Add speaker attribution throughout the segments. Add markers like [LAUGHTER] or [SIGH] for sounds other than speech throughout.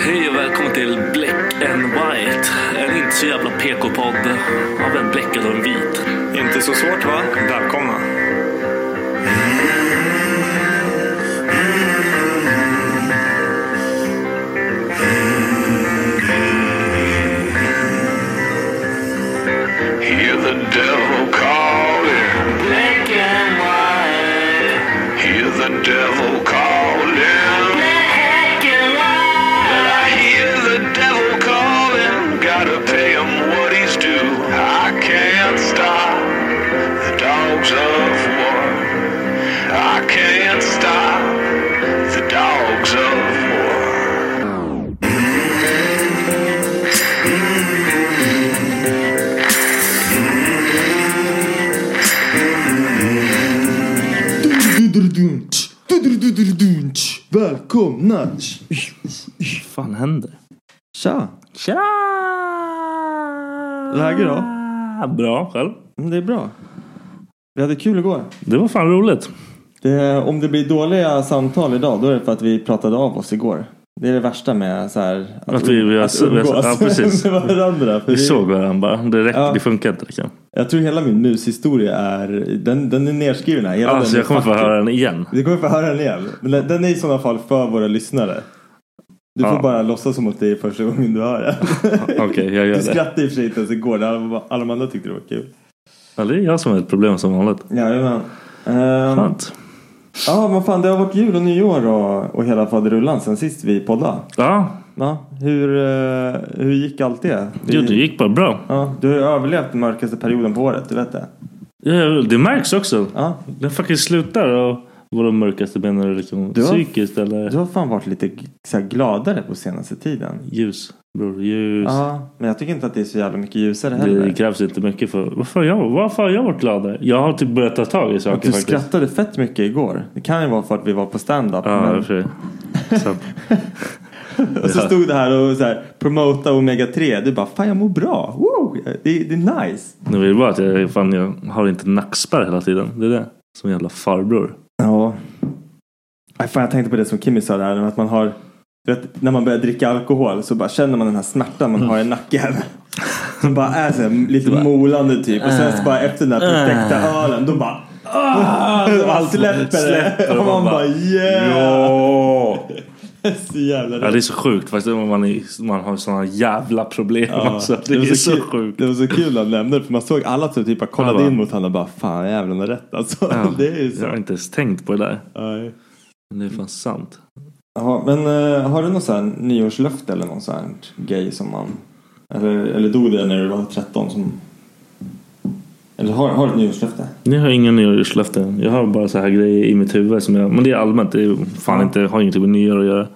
Speaker 1: Hej och välkommen till Black and White. En inte så jävla PK-podd av en bläckad och en vit.
Speaker 2: Inte så svårt va? Välkomna.
Speaker 3: Hear the devil calling.
Speaker 1: Black and white.
Speaker 3: Hear the devil calling.
Speaker 1: Black and white.
Speaker 3: I hear the devil calling. Gotta pay him what he's due. I can't stop the dogs of war. I can't stop the dogs of war.
Speaker 4: Välkomna!
Speaker 5: fan händer?
Speaker 4: Tja!
Speaker 5: Tja!
Speaker 4: Läge då?
Speaker 1: Bra, själv?
Speaker 4: Mm, Det är bra. Vi hade kul igår.
Speaker 1: Det var fan roligt.
Speaker 4: Det, om det blir dåliga samtal idag då är det för att vi pratade av oss igår. Det är det värsta med så här,
Speaker 1: Att vi- vi har-
Speaker 4: att
Speaker 1: vi har- Alltså,
Speaker 4: [LAUGHS]
Speaker 1: ja, precis.
Speaker 4: med varandra. För
Speaker 1: Vi
Speaker 4: det,
Speaker 1: såg varandra bara. Det, räck,
Speaker 4: Ja.
Speaker 1: det funkar inte. Liksom.
Speaker 4: jag tror hela min mushistoria är, den, den är nedskriven här. Hela
Speaker 1: Alltså,
Speaker 4: den är
Speaker 1: jag kommer få
Speaker 4: fucking-
Speaker 1: höra den
Speaker 4: [LAUGHS]
Speaker 1: igen.
Speaker 4: Du kommer få höra den igen. Men den- den är i sådana fall för våra lyssnare. Du får
Speaker 1: Ja.
Speaker 4: bara låtsas som att det är första gången du hör den.
Speaker 1: [LAUGHS] Okej, jag gör
Speaker 4: Du
Speaker 1: det.
Speaker 4: skrattade i och för sig inte ens igår. Alla, alla de andra tyckte det var kul.
Speaker 1: Ja, det är jag som har ett problem som vanligt.
Speaker 4: Jajamän. Ehm,
Speaker 1: Skönt.
Speaker 4: Ja, men fan det har varit jul och nyår och, och hela faderullan sen sist vi poddade.
Speaker 1: Ja,
Speaker 4: Ja, hur, eh, hur gick allt det? Vi,
Speaker 1: jo, det gick bara bra.
Speaker 4: Ja, du har ju överlevt den mörkaste perioden på året, du vet det?
Speaker 1: Ja, Det märks också.
Speaker 4: Ja.
Speaker 1: Den fucking slutar och vara de mörkaste benen är liksom
Speaker 4: Du har-
Speaker 1: psykiskt eller
Speaker 4: Du har fan varit lite g- så här, gladare på senaste tiden.
Speaker 1: ljus. Bror, ljus.
Speaker 4: Ja, men jag tycker inte att det är så jävla mycket ljusare heller.
Speaker 1: Det krävs inte mycket för... Varför har jag, varför har jag varit gladare? Jag har typ börjat ta tag i
Speaker 4: Att
Speaker 1: saker
Speaker 4: du
Speaker 1: faktiskt.
Speaker 4: skrattade fett mycket igår. Det kan ju vara för att vi var på stand-up.
Speaker 1: Ja, i och
Speaker 4: men,
Speaker 1: för sig. Sant.
Speaker 4: [LAUGHS] och så stod det här och så här, promota Omega 3. Du bara, fan jag mår bra. Woo! Det, det är nice.
Speaker 1: Nu är det bara att jag, fan, jag har inte nackspärr hela tiden. Det är det. Som en jävla farbror.
Speaker 4: Ja. Nej, fan, jag tänkte på det som Kimmy sa där. Att man har, du vet, när man börjar dricka alkohol så bara känner man den här smärtan man
Speaker 1: Mm.
Speaker 4: har i nacken. [LAUGHS] Som bara är så här, lite molande typ. Och sen så bara efter den här perfekta ölen då bara... Ah, så bara
Speaker 1: Mm. Allt
Speaker 4: släpper det.
Speaker 1: släpper
Speaker 4: Och man bara yeah.
Speaker 1: Ja.
Speaker 4: Så jävla
Speaker 1: Ja,
Speaker 4: roligt.
Speaker 1: det är så sjukt faktiskt. Man, är, man har sådana jävla problem. Alltså, det, är så
Speaker 4: kul,
Speaker 1: sjukt.
Speaker 4: det var så kul när han nämnde det för man såg alla som typ bara kollade
Speaker 1: Ja, va?
Speaker 4: in mot honom och bara fan jävlarna har rätt alltså. [LAUGHS] Det är ju
Speaker 1: Jag har
Speaker 4: så.
Speaker 1: inte ens tänkt på det där.
Speaker 4: Nej.
Speaker 1: Men det är fan sant.
Speaker 4: Ja, men eh, har du något sån här nyårslöfte eller något sånt här grej som man Eller, eller dog det när du var 13? Som... Eller har, har du ett nyårslöfte?
Speaker 1: Jag har inga nyårslöften. Jag har bara så här grejer i mitt huvud. Som jag, men det är allmänt. Det är fan inte, har ingenting med nyår att göra.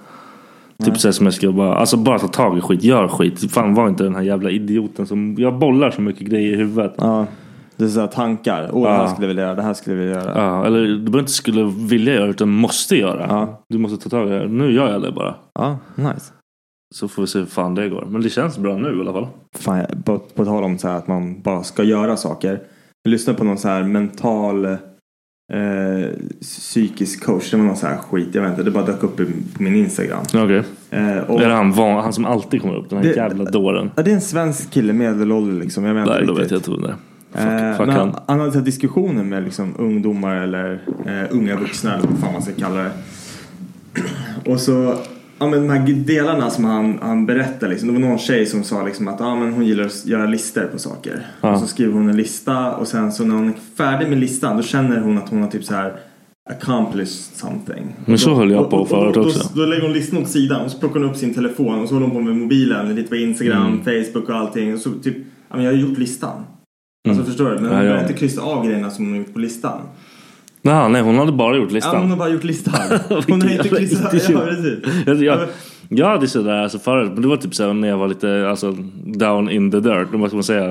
Speaker 1: Typ såhär som jag ska bara, alltså bara ta tag i skit, gör skit. Fan var inte den här jävla idioten som, jag bollar så mycket grejer i huvudet.
Speaker 4: Ja, det är såhär tankar. Åh, det här skulle jag vilja göra, det här skulle jag vilja göra.
Speaker 1: Ja, eller du behöver inte skulle vilja göra utan måste göra. Du måste ta tag i det. här. Nu gör jag det bara.
Speaker 4: Ja, nice.
Speaker 1: Så får vi se hur fan det går. Men det känns bra nu i alla fall.
Speaker 4: Fan, jag- på, på tal om så här att man bara ska göra saker. Jag lyssnade på någon så här mental eh, psykisk coach. Det var någon så här skit. Jag vet inte. Det bara dök upp i, på min Instagram.
Speaker 1: Okej.
Speaker 4: Eh, och-
Speaker 1: Är det han, van, han som alltid kommer upp? Den här
Speaker 4: Det-
Speaker 1: jävla dåren.
Speaker 4: Ja, det är en svensk kille, medelålder liksom. Jag menar
Speaker 1: Nej,
Speaker 4: inte
Speaker 1: då vet
Speaker 4: riktigt.
Speaker 1: jag inte vem det är.
Speaker 4: Eh,
Speaker 1: fuck
Speaker 4: men
Speaker 1: han.
Speaker 4: han, han hade så här diskussioner med liksom, ungdomar eller eh, unga vuxna eller vad fan man ska kalla det. Och så, ja men de här delarna som han, han berättar liksom. Det var någon tjej som sa liksom att ja, men hon gillar att göra listor på saker.
Speaker 1: Ja.
Speaker 4: Och så skriver hon en lista och sen så när hon är färdig med listan då känner hon att hon har typ så här accomplished something.
Speaker 1: Men så höll jag på
Speaker 4: Och- och-
Speaker 1: förut
Speaker 4: och då,
Speaker 1: också.
Speaker 4: Då, lägger hon listan åt sidan och så plockar hon upp sin telefon och så håller hon på med mobilen, lite på Instagram,
Speaker 1: Mm.
Speaker 4: Facebook och allting. Och så typ, ja men jag har gjort listan. Alltså förstår du? Men hon
Speaker 1: Mm. Ja, ja.
Speaker 4: behöver inte kryssa av grejerna som hon har gjort på listan.
Speaker 1: Nej, nej, hon hade bara gjort
Speaker 4: Ja, hon
Speaker 1: listan.
Speaker 4: har bara
Speaker 1: [LAUGHS]
Speaker 4: gjort listan. Hon har inte
Speaker 1: jävla
Speaker 4: kryssat. [LAUGHS]
Speaker 1: idiot.
Speaker 4: Ja, precis.
Speaker 1: jag, jag, jag hade sådär alltså förut, men det var typ såhär när jag var lite alltså, down in the dirt. Vad ska man säga?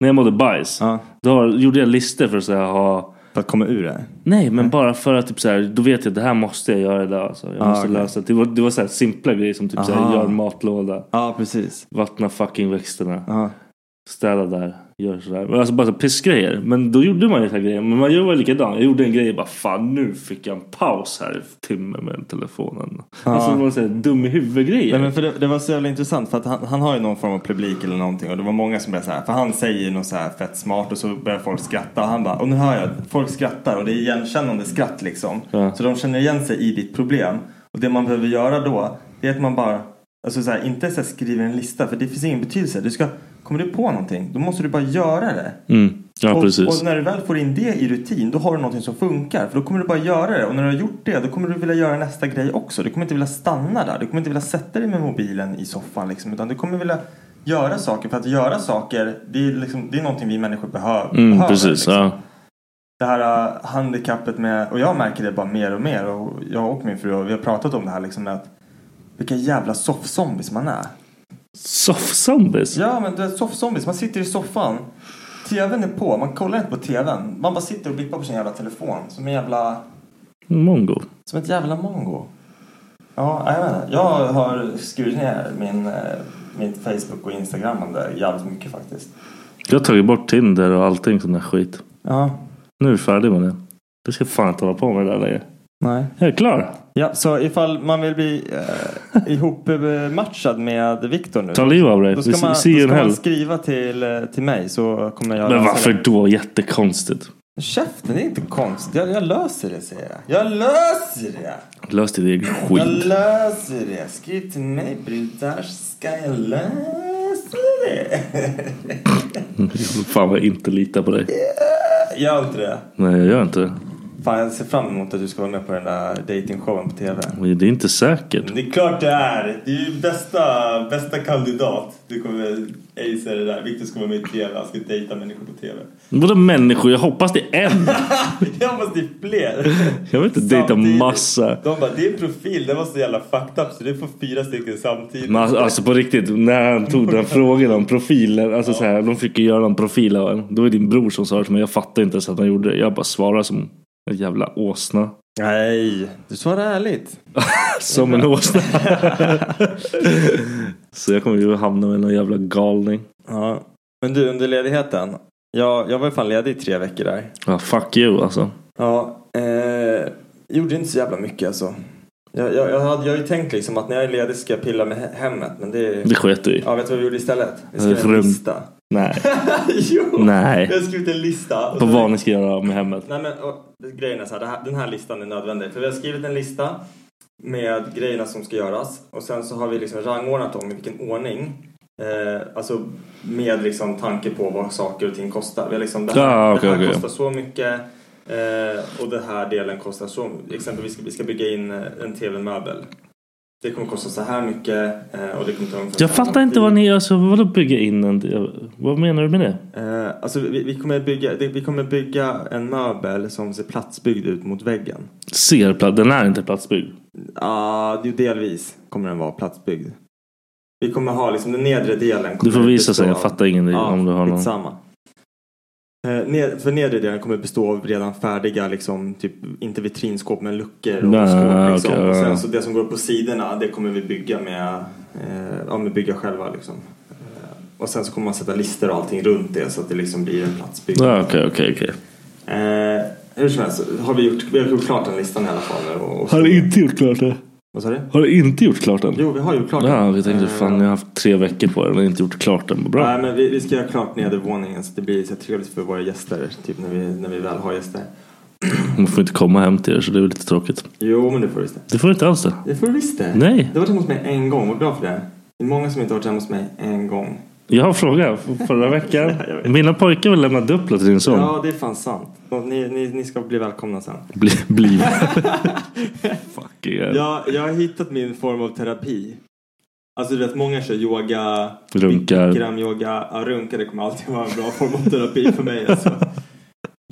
Speaker 1: När jag mådde bajs. Då gjorde jag listor för att såhär, ha...
Speaker 4: För att komma ur det?
Speaker 1: Nej, men bara för att typ såhär, då vet jag att det här måste jag göra idag. Alltså. Jag
Speaker 4: Ah,
Speaker 1: måste
Speaker 4: okej.
Speaker 1: lösa det. var, det var såhär simpla grejer som typ såhär,
Speaker 4: Aha.
Speaker 1: gör matlåda.
Speaker 4: Ja, precis.
Speaker 1: Vattna fucking växterna.
Speaker 4: Ja.
Speaker 1: Städa där. Gör sådär. Men Alltså bara så här pissgrejer. Men då gjorde man ju så här grejer. Men man gör väl likadan. Jag gjorde en grej och bara fan nu fick jag en paus här i timme med telefonen.
Speaker 4: Ja.
Speaker 1: Alltså man säger dum i huvudgrejer.
Speaker 4: Nej, men för det, det var så jävla intressant för att han, han har ju någon form av publik eller någonting och det var många som blev så här för han säger något så här fett smart och så börjar folk skratta och han bara och nu hör jag att folk skrattar och det är igenkännande skratt liksom
Speaker 1: Ja.
Speaker 4: så de känner igen sig i ditt problem och det man behöver göra då det är att man bara alltså så här, inte så här skriver en lista för det finns ingen betydelse du ska kommer du på någonting då måste du bara göra det
Speaker 1: Mm. Ja
Speaker 4: och,
Speaker 1: precis.
Speaker 4: och när du väl får in det i rutin då har du någonting som funkar. För då kommer du bara göra det. Och när du har gjort det då kommer du vilja göra nästa grej också. Du kommer inte vilja stanna där. Du kommer inte vilja sätta dig med mobilen i soffan liksom. Utan du kommer vilja göra saker. För att göra saker det är, liksom, det är någonting vi människor behöver.
Speaker 1: mm,
Speaker 4: behöver
Speaker 1: precis.
Speaker 4: liksom.
Speaker 1: Ja.
Speaker 4: Det här äh, handikappet med, och jag märker det bara mer och mer. Och jag och min fru vi har pratat om det här liksom. med Att vilka jävla soffzombies man är.
Speaker 1: Soffzombies.
Speaker 4: Ja, men det är soffzombies. Man sitter i soffan. TVn är på. Man kollar inte på TVn. Man bara sitter och blippar på sin jävla telefon. Som en jävla...
Speaker 1: Mongo.
Speaker 4: Som ett jävla mongo. Ja, jag vet inte. Jag har skurit ner min, eh, mitt Facebook och Instagramande jävligt mycket faktiskt.
Speaker 1: Jag har tagit bort Tinder och allting sån där skit.
Speaker 4: Ja.
Speaker 1: Nu är jag färdig med det. Du ska fan inte hålla på med det där längre.
Speaker 4: Nej.
Speaker 1: Jag är klar.
Speaker 4: Ja, så ifall man vill bli eh, ihopmatchad med Viktor nu.
Speaker 1: Ta livet av dig.
Speaker 4: Då
Speaker 1: Vi
Speaker 4: ska man,
Speaker 1: ser
Speaker 4: då
Speaker 1: ju
Speaker 4: ska
Speaker 1: en
Speaker 4: man
Speaker 1: helg.
Speaker 4: skriva till, eh, till mig så kommer jag
Speaker 1: Men
Speaker 4: lösa
Speaker 1: varför
Speaker 4: det.
Speaker 1: då? Jättekonstigt.
Speaker 4: Käften, det är inte konstigt. Jag, jag löser det säger jag. Jag löser det!
Speaker 1: Lös ditt eget skit.
Speaker 4: Jag löser det. Skriv till mig brudar så ska jag lösa det. [LAUGHS]
Speaker 1: Fan vad jag inte litar på dig.
Speaker 4: Gör inte det.
Speaker 1: Nej jag gör inte det.
Speaker 4: Fan jag ser fram emot att du ska vara med på den där dejtingshowen på TV.
Speaker 1: Men Det är inte säkert.
Speaker 4: Det är klart det är. Det är ju bästa, bästa kandidat. Du kommer acea det där. Viktor ska vara med i TV. Han ska dejta människor på TV.
Speaker 1: Vadå människor? Jag hoppas det är en.
Speaker 4: [LAUGHS] Jag hoppas det är fler.
Speaker 1: Jag vill inte dejta
Speaker 4: Samtidigt.
Speaker 1: massa.
Speaker 4: De bara, din profil den var så jälla fucked up så du får fyra stycken samtidigt.
Speaker 1: Men alltså, alltså på riktigt, när han tog den frågan om profiler. Alltså så här, de fick ju göra en profil av en. Det var din bror som sa det till mig. Jag fattade inte ens att han gjorde det. Jag bara svarade som en jävla åsna.
Speaker 4: Nej, du svarar
Speaker 1: [LAUGHS]
Speaker 4: ärligt.
Speaker 1: Som en åsna. [LAUGHS] Så jag kommer ju hamna med någon jävla galning.
Speaker 4: Ja. Men du, under ledigheten. Jag, jag var ju fan ledig i tre veckor där.
Speaker 1: Ja, fuck you alltså.
Speaker 4: Ja, eh, gjorde inte så jävla mycket alltså. Jag, jag, jag, hade, jag har ju tänkt liksom att när jag är ledig ska jag pilla med he- hemmet. Men det...
Speaker 1: Det sket du i.
Speaker 4: Ja, vet du vad vi gjorde istället? Vi
Speaker 1: Eh,
Speaker 4: skrev en
Speaker 1: rum.
Speaker 4: lista. [LAUGHS]
Speaker 1: Nej.
Speaker 4: jo!
Speaker 1: Nej.
Speaker 4: Jag har skrivit en lista. Och
Speaker 1: På
Speaker 4: så-
Speaker 1: vad ni ska göra av med hemmet.
Speaker 4: Nej men och, grejen är så här, det här, den här listan är nödvändig. För vi har skrivit en lista med grejerna som ska göras och sen så har vi liksom rangordnat dem i vilken ordning. Eh, alltså med liksom tanke på vad saker och ting kostar. Vi har liksom, det här,
Speaker 1: Ah, okej,
Speaker 4: det här
Speaker 1: okej.
Speaker 4: kostar så mycket eh, och den här delen kostar så mycket. Exempelvis ska vi ska bygga in eh, en tv-möbel. det kommer kosta så här mycket eh, och det kommer ta ungefär
Speaker 1: Jag
Speaker 4: så här
Speaker 1: fattar
Speaker 4: lång
Speaker 1: inte vad ni, alltså vadå bygga in en, vad menar du med det?
Speaker 4: tid. Eh, alltså vi, vi, kommer bygga, det, vi kommer bygga en möbel som ser platsbyggd ut mot väggen.
Speaker 1: Ser plats, den är inte platsbyggd.
Speaker 4: Ja, det är delvis kommer den vara platsbyggd. Vi kommer ha liksom den nedre delen.
Speaker 1: Du får
Speaker 4: kommer
Speaker 1: visa
Speaker 4: bestå
Speaker 1: sen,
Speaker 4: av-
Speaker 1: jag fattar ingenting
Speaker 4: Ja,
Speaker 1: om du har någon.
Speaker 4: skitsamma. Eh, ned, för nedre delen kommer bestå av redan färdiga, liksom, typ, inte vitrinskåp men luckor och
Speaker 1: Nej,
Speaker 4: skåp. Liksom.
Speaker 1: okej,
Speaker 4: och
Speaker 1: ja, ja.
Speaker 4: sen så det som går upp på sidorna, det kommer vi bygga med, eh, ja, men bygga själva liksom. Eh, och sen så kommer man sätta lister och allting runt det så att det liksom blir en platsbyggnad.
Speaker 1: Ja, Okej, okej, okej.
Speaker 4: Eh, hur som helst, har vi, gjort, vi har gjort klart den listan i alla fall. nu Och, och,
Speaker 1: Har du inte gjort klart det?
Speaker 4: vad sa du?
Speaker 1: Har du inte gjort klart den?
Speaker 4: Jo, vi har gjort klart den.
Speaker 1: Ja, vi tänkte fan jag har haft tre veckor på den och inte gjort klart den. Bra.
Speaker 4: Nej, men vi, vi ska göra klart nedervåningen så att det blir så här trevligt för våra gäster. Typ när vi, när vi väl har gäster.
Speaker 1: Man får inte komma hem till er så det är väl lite tråkigt.
Speaker 4: Jo, men det får du visst det.
Speaker 1: Det får du inte alls det.
Speaker 4: Det får du visst det.
Speaker 1: Nej.
Speaker 4: Du har varit hemma hos mig en gång. Vad bra för det. Det är många som inte har varit hemma hos mig en gång.
Speaker 1: Jag har en fråga F- förra
Speaker 4: [LAUGHS]
Speaker 1: veckan. Mina pojkar vill lämna Duplo till din son.
Speaker 4: Ja, det är fan sant. Ni, ni, ni ska bli välkomna sen.
Speaker 1: Bli,
Speaker 4: [LAUGHS]
Speaker 1: bli. Fucking hell.
Speaker 4: Jag, jag har hittat min form av terapi. Alltså du vet, många kör yoga,
Speaker 1: Runkar.
Speaker 4: kramyoga, ja, runka det kommer alltid vara en bra form av terapi för mig alltså.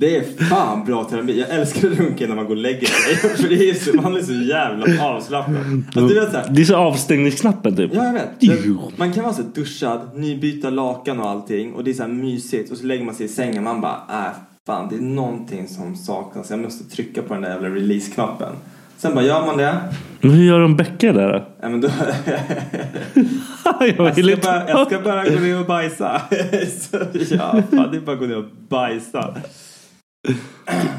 Speaker 4: Det är fan bra terapi. Jag älskar runka när man går och lägger sig. [LAUGHS] För det är så, man är så jävla avslappnad. Alltså, du vet så här,
Speaker 1: Det är så avstängningsknappen typ.
Speaker 4: Ja, jag vet.
Speaker 1: Ew.
Speaker 4: Man kan vara så duschad, nybyta lakan och allting och det är så här mysigt och så lägger man sig i sängen och man bara äh, fan det är någonting som saknas. Jag måste trycka på den där jävla release-knappen. Sen bara gör man det.
Speaker 1: Men hur gör de Becka där då?
Speaker 4: Äh, men då...
Speaker 1: [LAUGHS]
Speaker 4: [LAUGHS]
Speaker 1: jag,
Speaker 4: ska
Speaker 1: vill inte-
Speaker 4: bara, jag ska bara gå ner och bajsa. [LAUGHS] så, ja, fan, det är bara att gå ner och bajsa.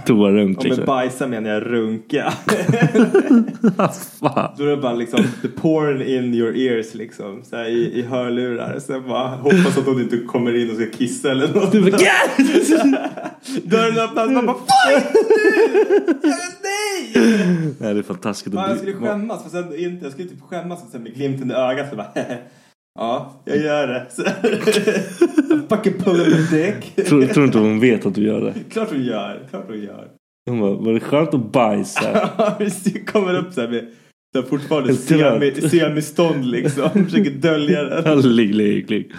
Speaker 1: Toarunk
Speaker 4: Och med
Speaker 1: liksom.
Speaker 4: bajsa menar jag runka. [LAUGHS]
Speaker 1: [LAUGHS] Fan.
Speaker 4: Då är det bara liksom the porn in your ears liksom. Så här, i, i hörlurar. Sen bara hoppas att hon inte kommer in och ska kissa eller något.
Speaker 1: Du bara,
Speaker 4: [LAUGHS] Dörren öppnas man bara FAN! Nej!
Speaker 1: Nej det är fantastiskt.
Speaker 4: Fan, jag skulle
Speaker 1: att bli-
Speaker 4: skämmas för sen inte, jag skulle typ skämmas och sen med glimten i ögat så bara [LAUGHS] Ja, jag gör det. [LAUGHS] Så, I fucking pull up my dick.
Speaker 1: Tror, tror inte hon vet att du gör det?
Speaker 4: Klart hon gör, klart hon gör. [LAUGHS]
Speaker 1: Hon bara, var det skönt att bajsa?
Speaker 4: Visst, kommer upp så här med så här fortfarande
Speaker 1: Helt trött.
Speaker 4: semi- semistånd liksom. Försöker dölja
Speaker 1: Ja,
Speaker 4: [LAUGHS] den.
Speaker 1: ligg, ligg, ligg.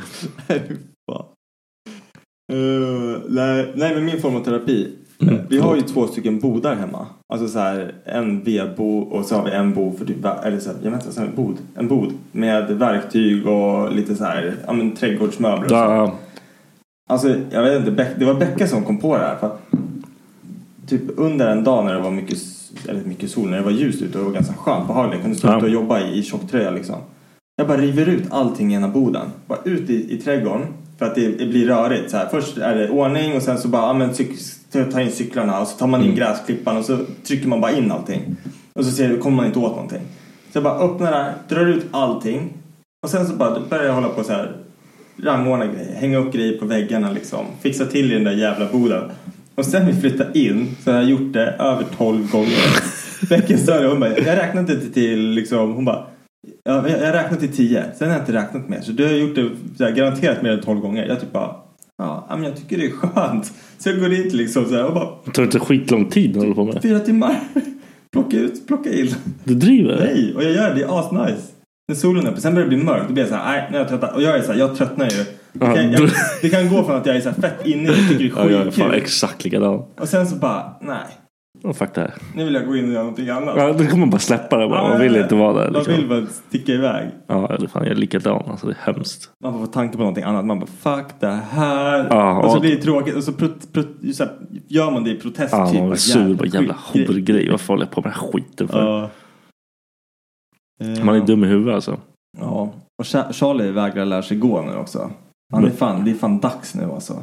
Speaker 4: Eh, nej, nej, men min form av terapi. eh,
Speaker 1: Mm,
Speaker 4: Vi har ju två stycken bodar hemma. Alltså så här, en vedbo och så har vi en bo för typ, va- eller så här, jag vet inte, så här, bod, en bod med verktyg och lite så här, ja men trädgårdsmöbler och så.
Speaker 1: Ja,
Speaker 4: Alltså, jag vet inte. Beck, det var Becka som kom på det här. För att, typ under en dag när det var mycket, s- eller mycket sol, när det var ljust ute och det var ganska skönt på hagen. Jag kunde stå
Speaker 1: Ja.
Speaker 4: ute och jobba i, i tjocktröja liksom. Jag bara river ut allting i ena boden. Bara ut i, i trädgården. För att det, det blir rörigt. Så här. Först är det ordning och sen så bara, ja, men, cyk, ta in cyklarna och så tar man in gräsklippan och så trycker man bara in allting. Och så ser, kommer man inte åt någonting. Så jag bara öppnar det här, drar ut allting. Och sen så bara börjar jag hålla på så här rangordna grejer, hänga upp grejer på väggarna liksom. Fixa till i den där jävla boden. Och sen vi flyttade in så har jag gjort det över 12 gånger. Becken sa det, hon bara, jag räknade inte till liksom, hon bara, jag, jag räknade till 10. Sen har jag inte räknat mer. Så du har gjort det så här, garanterat mer än 12 gånger. Jag typ bara, ja men jag tycker det är skönt. Så jag går dit liksom så här och bara,
Speaker 1: det tar inte skitlång tid att hålla på med.
Speaker 4: fyra timmar. [LAUGHS] Plocka ut, plocka in.
Speaker 1: Du driver?
Speaker 4: Nej, och jag gör det. Det är asnice. När solen är uppe. Sen börjar det bli mörkt. Då blir jag så här, nej, nu är jag trött. Och jag är så här, jag tröttnar ju. Det
Speaker 1: Ja,
Speaker 4: kan,
Speaker 1: då-
Speaker 4: jag, det kan gå från att jag är så här fett inne i det och tycker
Speaker 1: Ja,
Speaker 4: det
Speaker 1: jag
Speaker 4: är
Speaker 1: är fan
Speaker 4: skitkul.
Speaker 1: exakt likadan.
Speaker 4: Och sen så bara, nej.
Speaker 1: Oh, fuck det här.
Speaker 4: Nu vill jag gå in och göra någonting annat.
Speaker 1: Ja, då kommer man bara släppa det bara. Man vill inte vara där.
Speaker 4: Man vill
Speaker 1: Liksom.
Speaker 4: bara sticka iväg.
Speaker 1: Ja, eller fan jag är likadan. Alltså det är hemskt.
Speaker 4: Man bara får tanke på någonting annat. Man bara, fuck det här.
Speaker 1: Ja,
Speaker 4: och så
Speaker 1: och-
Speaker 4: blir det tråkigt. Och så, prot, prot, så här, gör man det i protest. typ
Speaker 1: Ja, man
Speaker 4: bara,
Speaker 1: blir sur. Bara jävla
Speaker 4: skitgrej.
Speaker 1: horgrej. Varför håller jag på med den här skiten för?
Speaker 4: Ja. Eh,
Speaker 1: Man är dum i huvudet alltså.
Speaker 4: Ja, och Cha- Charlie vägrar lära sig gå nu också. Han är fan, det är fan dags nu alltså.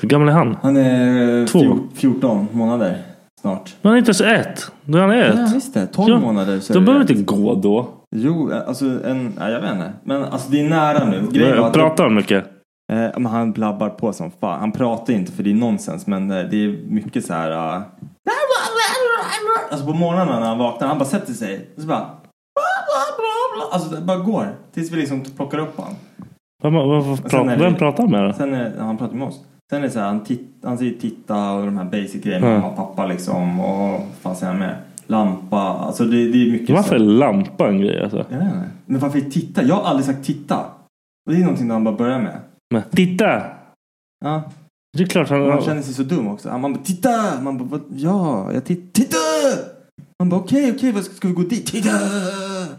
Speaker 1: Hur gammal är han?
Speaker 4: Han är eh,
Speaker 1: Två.
Speaker 4: fjor- 14 månader snart.
Speaker 1: Men han är inte ens ett. Då är han
Speaker 4: Ja,
Speaker 1: ett.
Speaker 4: visst det. 12
Speaker 1: Ja,
Speaker 4: månader. Så är
Speaker 1: Då
Speaker 4: det
Speaker 1: behöver
Speaker 4: rätt.
Speaker 1: du inte gå då.
Speaker 4: Jo, eh, alltså en... Nej, jag vet inte. Men alltså det är nära nu. Grejen var att-
Speaker 1: Pratar han mycket?
Speaker 4: Eh, men han blabbar på som fan. Han pratar inte för det är nonsens men eh, det är mycket så här. eh, Alltså på morgonen när han vaknar, han bara sätter sig och så bara Alltså det bara går. Tills vi liksom plockar upp honom.
Speaker 1: Vem, vad- vad
Speaker 4: Sen
Speaker 1: pratar-
Speaker 4: är det-
Speaker 1: vem pratar han med då?
Speaker 4: Sen är, han pratar med oss. Sen är det så här, han, titt, han säger titta och de här basic grejerna.
Speaker 1: Mm.
Speaker 4: Mamma och pappa liksom och vad fan säger han mer? lampa. Alltså det, det är mycket
Speaker 1: Varför är
Speaker 4: så.
Speaker 1: lampa en grej alltså?
Speaker 4: Jag vet inte. Men varför titta? Jag har aldrig sagt titta. Och det är någonting han bara börjar med.
Speaker 1: Men, titta!
Speaker 4: Ja.
Speaker 1: Det är klart han...
Speaker 4: Man känner sig så dum också. Man bara titta! Man bara "Vad? ja, jag tittar. Titta! Man bara okej, okej, vad ska, ska vi gå dit? Titta!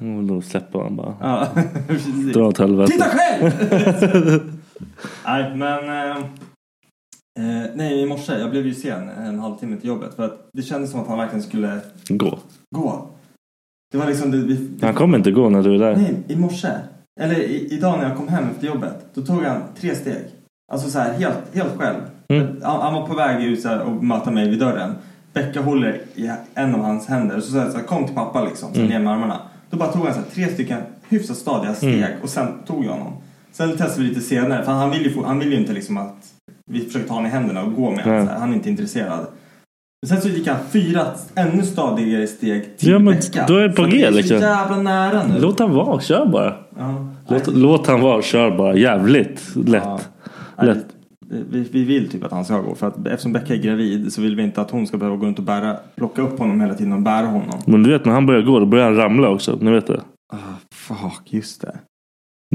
Speaker 1: Mm, Då släpper han bara.
Speaker 4: Ja, [LAUGHS] precis.
Speaker 1: Dra åt helvete.
Speaker 4: Titta själv! nej, men... Eh, eh, nej, i morse. Jag blev ju sen en halvtimme till jobbet. För att det kändes som att han verkligen skulle
Speaker 1: Gå.
Speaker 4: gå. Det var liksom... Det, vi,
Speaker 1: Han kommer inte gå när du är där.
Speaker 4: Nej, i morse. Eller i, idag när jag kom hem efter jobbet. Då tog han tre steg. Alltså så här helt, helt själv.
Speaker 1: Mm.
Speaker 4: Han, han var på väg ut så här och möta mig vid dörren. Becka håller i en av hans händer och så säger jag så här, kom till pappa liksom. Så
Speaker 1: Mm.
Speaker 4: ner med armarna. Då bara tog han så här, tre stycken hyfsat stadiga steg och sen tog jag honom. Sen testade vi lite senare för han vill ju, få- han vill ju inte liksom att vi försöker ta honom i händerna och gå med
Speaker 1: Nej.
Speaker 4: honom. så här. Han är inte intresserad. Men sen så gick han fyra ännu stadigare steg till
Speaker 1: Ja, men
Speaker 4: Becka.
Speaker 1: då är det på
Speaker 4: Så
Speaker 1: G,
Speaker 4: så
Speaker 1: liksom.
Speaker 4: jävla nära nu.
Speaker 1: Låt han vara, kör bara.
Speaker 4: Ja.
Speaker 1: Låt, låt han vara, kör bara. Jävligt lätt.
Speaker 4: Nej,
Speaker 1: Lätt.
Speaker 4: Vi, vi- vi vill typ att han ska gå för att eftersom Becka är gravid så vill vi inte att hon ska behöva gå runt och bära, plocka upp honom hela tiden och bära honom.
Speaker 1: Men du vet när han börjar gå, då börjar han ramla också. Ni vet det.
Speaker 4: Fuck, just det.
Speaker 1: Ah,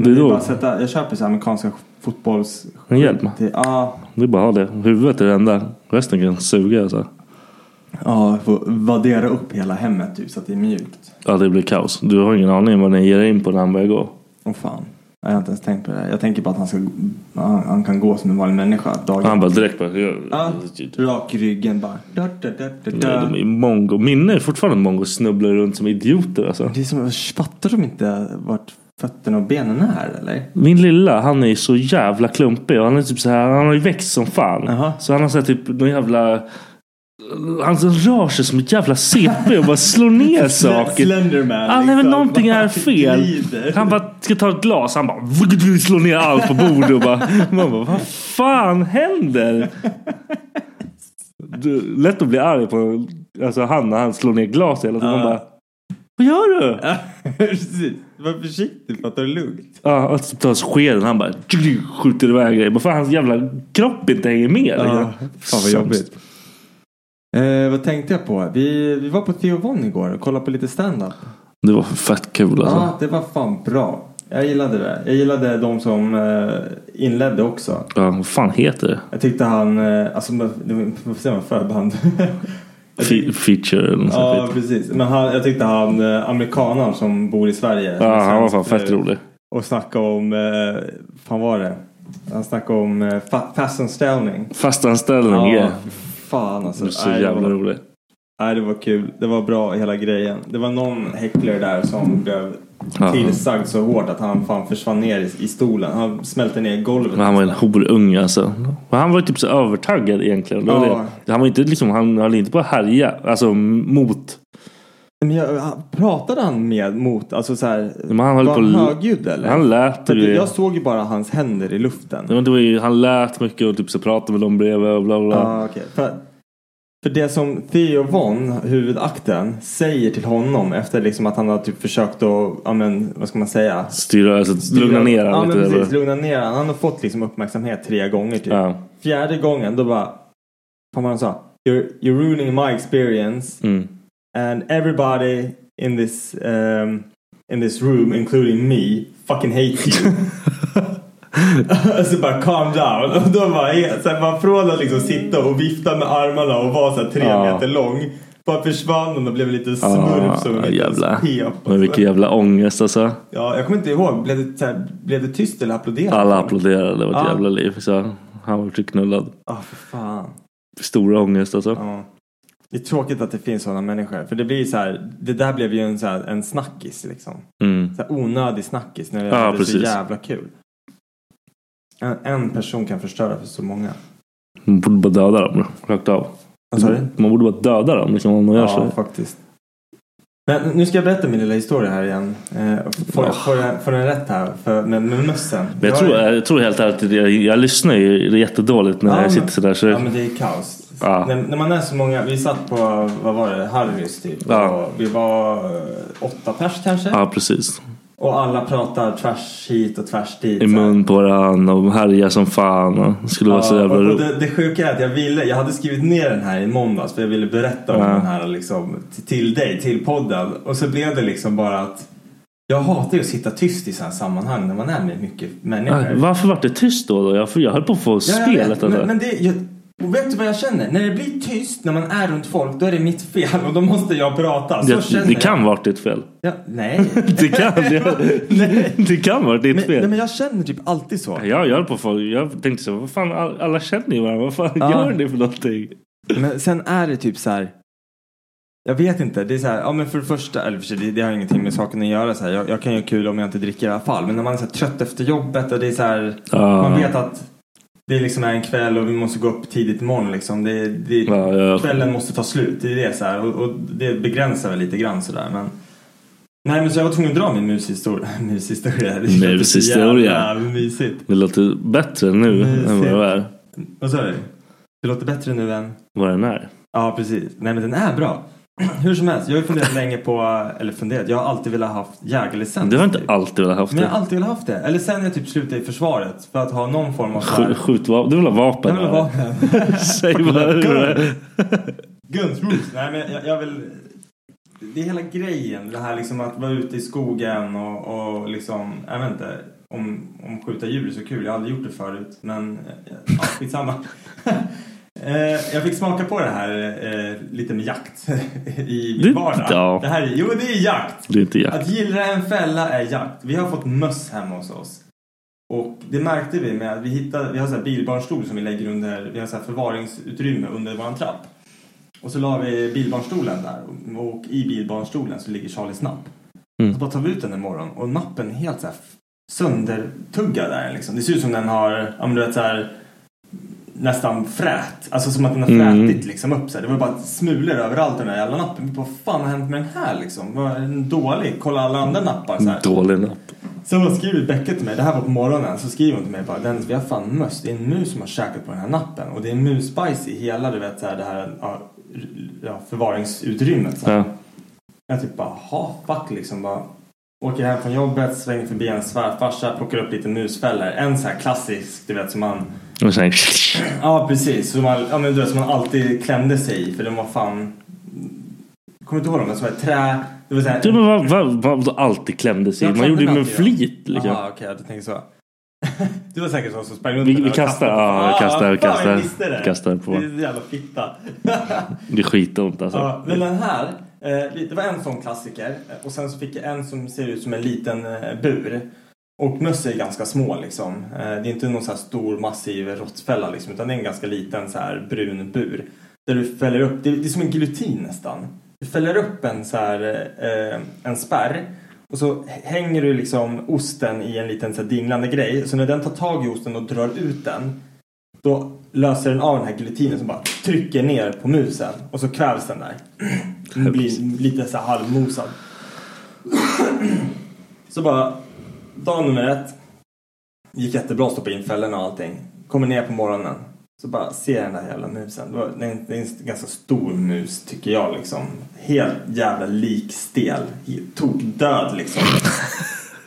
Speaker 1: Det är
Speaker 4: Det är bara
Speaker 1: då.
Speaker 4: att sätta, jag köper så här amerikanska fotbolls... ah.
Speaker 1: En hjälm. Ja,
Speaker 4: till- Ja,
Speaker 1: det är bara att ha det. Huvudet är det enda. Resten kan suga alltså.
Speaker 4: ja, få vaddera upp hela hemmet typ så att det är mjukt.
Speaker 1: Ja, det blir kaos. Du har ingen aning om vad ni ger er in på när han börjar gå.
Speaker 4: Åh fan. Jag har inte ens tänkt på det. där. Jag tänker på att han, ska, han, han kan gå som en vanlig människa. Dagen.
Speaker 1: Han bara direkt bara... Ja,
Speaker 4: Ja, rak i ryggen bara. Da, da, da,
Speaker 1: de
Speaker 4: da, da.
Speaker 1: typ- är mongo. Minne är fortfarande mongo och snubblar runt som idioter alltså.
Speaker 4: Det är som, fattar de inte vart fötterna och benen är eller?
Speaker 1: Min lilla, han är så jävla klumpig. Och han, är typ så här, han har ju växt som fan.
Speaker 4: Jaha.
Speaker 1: Så han har så här, typ någon jävla... Han rör sig som ett jävla CP och bara slår
Speaker 4: [LAUGHS]
Speaker 1: ner saker.
Speaker 4: Slenderman.
Speaker 1: Han, nej, men någonting
Speaker 4: [LAUGHS]
Speaker 1: är fel.
Speaker 4: liksom. Glider.
Speaker 1: Han bara ska ta ett glas. Han bara [LAUGHS] slår ner allt på bordet. Och bara, man bara, vad fan händer? Du, lätt att bli arg på alltså, han när han slår ner glas hela tiden. Man
Speaker 4: Ja.
Speaker 1: bara, vad gör du?
Speaker 4: [LAUGHS] Precis. Var försiktig, fatta det lugnt.
Speaker 1: Ja, och så tar skeden. Han bara tju, skjuter iväg grejer. Bara för hans jävla kropp inte hänger med. Liksom.
Speaker 4: Ja, fan vad
Speaker 1: Sämst.
Speaker 4: jobbigt. Eh, vad tänkte jag på? Vi, vi var på Theo Von igår och kollade på lite stand-up.
Speaker 1: Det var fett kul
Speaker 4: Ja,
Speaker 1: alltså.
Speaker 4: ah, det var fan bra. Jag gillade det. Jag gillade de som eh, inledde också.
Speaker 1: Ja, vad fan heter det?
Speaker 4: Jag tyckte han, eh, alltså, det var- vad säger man, förband? [LAUGHS] Jag tyckte-
Speaker 1: Fe- feature eller något sånt
Speaker 4: Ja,
Speaker 1: skit.
Speaker 4: precis. Men han, jag tyckte han, eh, amerikanaren som bor i Sverige. som
Speaker 1: Ja,
Speaker 4: är
Speaker 1: han var fan
Speaker 4: svensk
Speaker 1: fett
Speaker 4: nu,
Speaker 1: rolig.
Speaker 4: Och snackade om, eh, fan var det? Han snackade om eh, fa- fastanställning.
Speaker 1: Fastanställning, ja.
Speaker 4: fan
Speaker 1: Det
Speaker 4: alltså.
Speaker 1: var så
Speaker 4: Nej, det
Speaker 1: jävla
Speaker 4: var-
Speaker 1: rolig.
Speaker 4: Nej, det var kul. Det var bra hela grejen. Det var någon häcklare där som blev
Speaker 1: Ja.
Speaker 4: tillsagd så hårt att han fan försvann ner i, i stolen. Han smälte ner i golvet.
Speaker 1: Men han var en horunge alltså. Men han var typ så övertaggad egentligen. Det var
Speaker 4: Ja.
Speaker 1: det. Han var inte liksom, han höll inte på att härja. Alltså mot.
Speaker 4: Men jag, han- pratade han med mot, alltså så här,
Speaker 1: Men han höll
Speaker 4: var
Speaker 1: på
Speaker 4: han
Speaker 1: att-
Speaker 4: högljudd eller?
Speaker 1: Han lät
Speaker 4: För att
Speaker 1: ju-
Speaker 4: jag såg ju bara hans händer i luften.
Speaker 1: Det var, det var ju, han lät mycket och typ så pratade med dem bredvid och bla bla. bla.
Speaker 4: Ah, okej. för, för det som Theo Von, huvudakten, säger till honom efter liksom att han har typ försökt att, ja men vad ska man säga?
Speaker 1: Styra, alltså, lugna ner
Speaker 4: ja,
Speaker 1: han
Speaker 4: men
Speaker 1: lite.
Speaker 4: precis,
Speaker 1: eller?
Speaker 4: lugna ner han. Han har fått liksom uppmärksamhet tre gånger typ.
Speaker 1: Ja.
Speaker 4: Fjärde gången då bara, fan vad han sa? You're, you're ruining my experience
Speaker 1: Mm.
Speaker 4: and everybody in this, um, in this room including me fucking hate
Speaker 1: [LAUGHS]
Speaker 4: you. [LAUGHS] Alltså bara calm down. Och då bara, så här, bara från att liksom sitta och vifta med armarna och vara så här tre
Speaker 1: Ja.
Speaker 4: meter lång. Bara försvann hon och blev lite smurf
Speaker 1: Ja,
Speaker 4: som en liten
Speaker 1: Ah,
Speaker 4: alltså.
Speaker 1: jävla.
Speaker 4: pep.
Speaker 1: Men vilken jävla ångest alltså.
Speaker 4: Ja, jag kommer inte ihåg. Blev det, så här, blev det tyst eller applåderade
Speaker 1: Alla
Speaker 4: folk?
Speaker 1: applåderade, det var ett
Speaker 4: Ja.
Speaker 1: jävla liv. Så han var knullad.
Speaker 4: Ja, Ah, för fan.
Speaker 1: Stora ångest alltså.
Speaker 4: Ja. Det är tråkigt att det finns sådana människor. För det blir så här, det där blev ju en, så här, en snackis liksom.
Speaker 1: Mm.
Speaker 4: Så här onödig snackis när det
Speaker 1: Ja,
Speaker 4: är så
Speaker 1: precis.
Speaker 4: jävla kul. En, en person kan förstöra för så många.
Speaker 1: Man borde bara döda dem rakt av.
Speaker 4: Vad sa du?
Speaker 1: Man borde bara döda dem liksom, om de gör
Speaker 4: Mm. Ja,
Speaker 1: så.
Speaker 4: faktiskt. Men nu ska jag berätta min lilla historia här igen. Eh, och Får,
Speaker 1: Ja.
Speaker 4: får, jag, får den rätt här för, med, med mössen?
Speaker 1: Oh. Men jag, tror, jag tror helt ärligt, att jag, jag lyssnar ju det är jättedåligt när
Speaker 4: Ja, men-
Speaker 1: jag sitter sådär. Så
Speaker 4: Ja men det är kaos.
Speaker 1: Ja.
Speaker 4: När, när man är så många, vi satt på, vad var det, Harrys typ.
Speaker 1: Ja.
Speaker 4: Och vi var eh, åtta pers kanske.
Speaker 1: ja, precis.
Speaker 4: Och alla pratar tvärs hit och tvärs dit.
Speaker 1: I mun på varandra och härjar som fan. Och det skulle vara så
Speaker 4: Ja,
Speaker 1: jävla
Speaker 4: och- och
Speaker 1: roligt.
Speaker 4: det, det sjuka är att jag ville, jag hade skrivit ner den här i måndags för jag ville berätta om
Speaker 1: Ja.
Speaker 4: den här liksom t- till dig, till podden. Och så blev det liksom bara att jag hatar ju att sitta tyst i sådana här sammanhang när man är med mycket människor.
Speaker 1: Nej, Äh, Varför var det tyst då? då? Jag, jag höll på att få
Speaker 4: jag
Speaker 1: spelet.
Speaker 4: vet,
Speaker 1: alltså.
Speaker 4: men, men det, jag, och vet du vad jag känner? När det blir tyst när man är runt folk då är det mitt fel och då måste jag prata. Så
Speaker 1: det,
Speaker 4: känner
Speaker 1: det
Speaker 4: jag.
Speaker 1: kan vara ditt fel.
Speaker 4: Ja, [LAUGHS] nej.
Speaker 1: [LAUGHS] Det kan, det, det kan vara ditt fel.
Speaker 4: nej, men jag känner typ alltid så.
Speaker 1: Jag, jag, höll på att få, jag tänkte så, vad fan, all- alla känner ju varandra. Vad fan gör ni för någonting?
Speaker 4: Men sen är det typ så här. Jag vet inte. Det är så här, ja men för det första, eller för sig, det, det har ingenting med saken att göra. Så här, jag, jag kan ju ha kul om jag inte dricker i alla fall. Men när man är så här, trött efter jobbet och det är så här.
Speaker 1: Ja.
Speaker 4: Man vet att det liksom är en kväll och vi måste gå upp tidigt imorgon liksom. Det, det,
Speaker 1: ja.
Speaker 4: Kvällen måste ta slut. Det är det så här. Och, och det begränsar väl lite grann så där. Men, nej men så jag var tvungen att dra min mushistoria. [LAUGHS] mushistoria. Det låter så jävla
Speaker 1: Mushistoria.
Speaker 4: mysigt.
Speaker 1: Det låter bättre nu än vad det är.
Speaker 4: Vad sa du? Det låter bättre nu än?
Speaker 1: Vad den är.
Speaker 4: Ja, precis. Nej, men den är bra. [CLEARS THROAT] Hur som helst, jag har ju funderat länge på, eller funderat, jag har alltid velat ha haft jägarlicens.
Speaker 1: Du har inte alltid velat haft
Speaker 4: Men jag har
Speaker 1: det.
Speaker 4: alltid velat ha haft det. Eller sen jag typ slutade i försvaret för att ha någon form av... så här-
Speaker 1: Sk- Skjutvapen. Du vill ha vapen?
Speaker 4: Jag vill ha
Speaker 1: eller? [LAUGHS]
Speaker 4: vapen.
Speaker 1: Säg
Speaker 4: [LAUGHS]
Speaker 1: vad du
Speaker 4: Gun. Guns, rules. Nej, men jag, jag vill... Det är hela grejen, det här liksom att vara ute i skogen och, och liksom, jag vet inte. Om, om skjuta djur är så kul, jag har aldrig gjort det förut, men eh, ja, skitsamma. [LAUGHS] Eh, jag fick smaka på det här eh, lite med jakt [LAUGHS] i
Speaker 1: Det-
Speaker 4: min vardag.
Speaker 1: ja.
Speaker 4: Det här, är- jo, det är jakt!
Speaker 1: Det är inte jakt.
Speaker 4: Att gillra en fälla är jakt. Vi har fått möss hemma hos oss. Och det märkte vi med att vi hittade, vi har så här bilbarnstol som vi lägger under, vi har så här förvaringsutrymme under våran trapp. Och så la vi bilbarnstolen där och, och i bilbarnstolen så ligger Charlies napp.
Speaker 1: Mm.
Speaker 4: Så bara tar vi ut den en morgon och nappen är helt så här söndertuggad där liksom. Det ser ut som den har, ja men du vet så här nästan frät. Alltså som att den har
Speaker 1: Mm.
Speaker 4: frätit liksom upp sig. Det var bara smulor överallt den där jävla nappen. Vi bara, Vad fan har hänt med den här liksom? Var den dålig? Kolla alla andra nappar så här.
Speaker 1: Dålig napp.
Speaker 4: Sen hon skriver Becka till mig, det här var på morgonen, så skriver hon till mig bara Dennis vi har fan möss, det är en mus som har käkat på den här nappen och det är musbajs i hela du vet så här, det här ja, r- ja, förvaringsutrymmet. Så här.
Speaker 1: Ja.
Speaker 4: Jag typ bara, ha fuck liksom bara. Åker hem från jobbet, svänger förbi en svärfarsa, plockar upp lite musfällor. En så här klassisk, du vet som man
Speaker 1: Och sen,
Speaker 4: Ja, precis. Som man, ja, men du vet, som man alltid klämde sig i för den var fan... Kommer inte ihåg dem, men som var ett trä. Det var så här...
Speaker 1: du, men vad, vad, vad, vad alltid klämde sig.
Speaker 4: Jag
Speaker 1: Man gjorde det med
Speaker 4: klämde mig alltid,
Speaker 1: flit.
Speaker 4: ja.
Speaker 1: Liksom.
Speaker 4: Aha, okej, du tänker så. [LAUGHS] du var säkert sån som sprang runt
Speaker 1: Vi-
Speaker 4: med
Speaker 1: vi
Speaker 4: den och
Speaker 1: kastar,
Speaker 4: kastade på-
Speaker 1: ja, vi kastar, vi
Speaker 4: fan, jag
Speaker 1: kastar.
Speaker 4: visste det.
Speaker 1: Kastar på.
Speaker 4: Det är en jävla fitta. [LAUGHS]
Speaker 1: Det är skitont alltså.
Speaker 4: Ja, men den här, eh, det var en sån klassiker eh, och sen så fick jag en som ser ut som en liten eh, bur. Och möss är ganska små liksom. Eh, Det är inte någon så här stor massiv råttfälla liksom utan det är en ganska liten så här brun bur. Där du fäller upp, det är, det är som en giljotin nästan. Du fäller upp en så här, eh, en spärr och så hänger du liksom osten i en liten så här dinglande grej. Så när den tar tag i osten och drar ut den då löser den av den här giljotinen som bara trycker ner på musen och så kvävs den där. Den blir lite så här halvmosad. Så bara, dag nummer ett. Gick jättebra att stoppa in fällorna och allting. Kommer ner på morgonen. Så bara ser jag den där jävla musen. Det var- Det är en, det är en ganska stor mus tycker jag liksom. Helt jävla likstel. Helt Tokdöd liksom.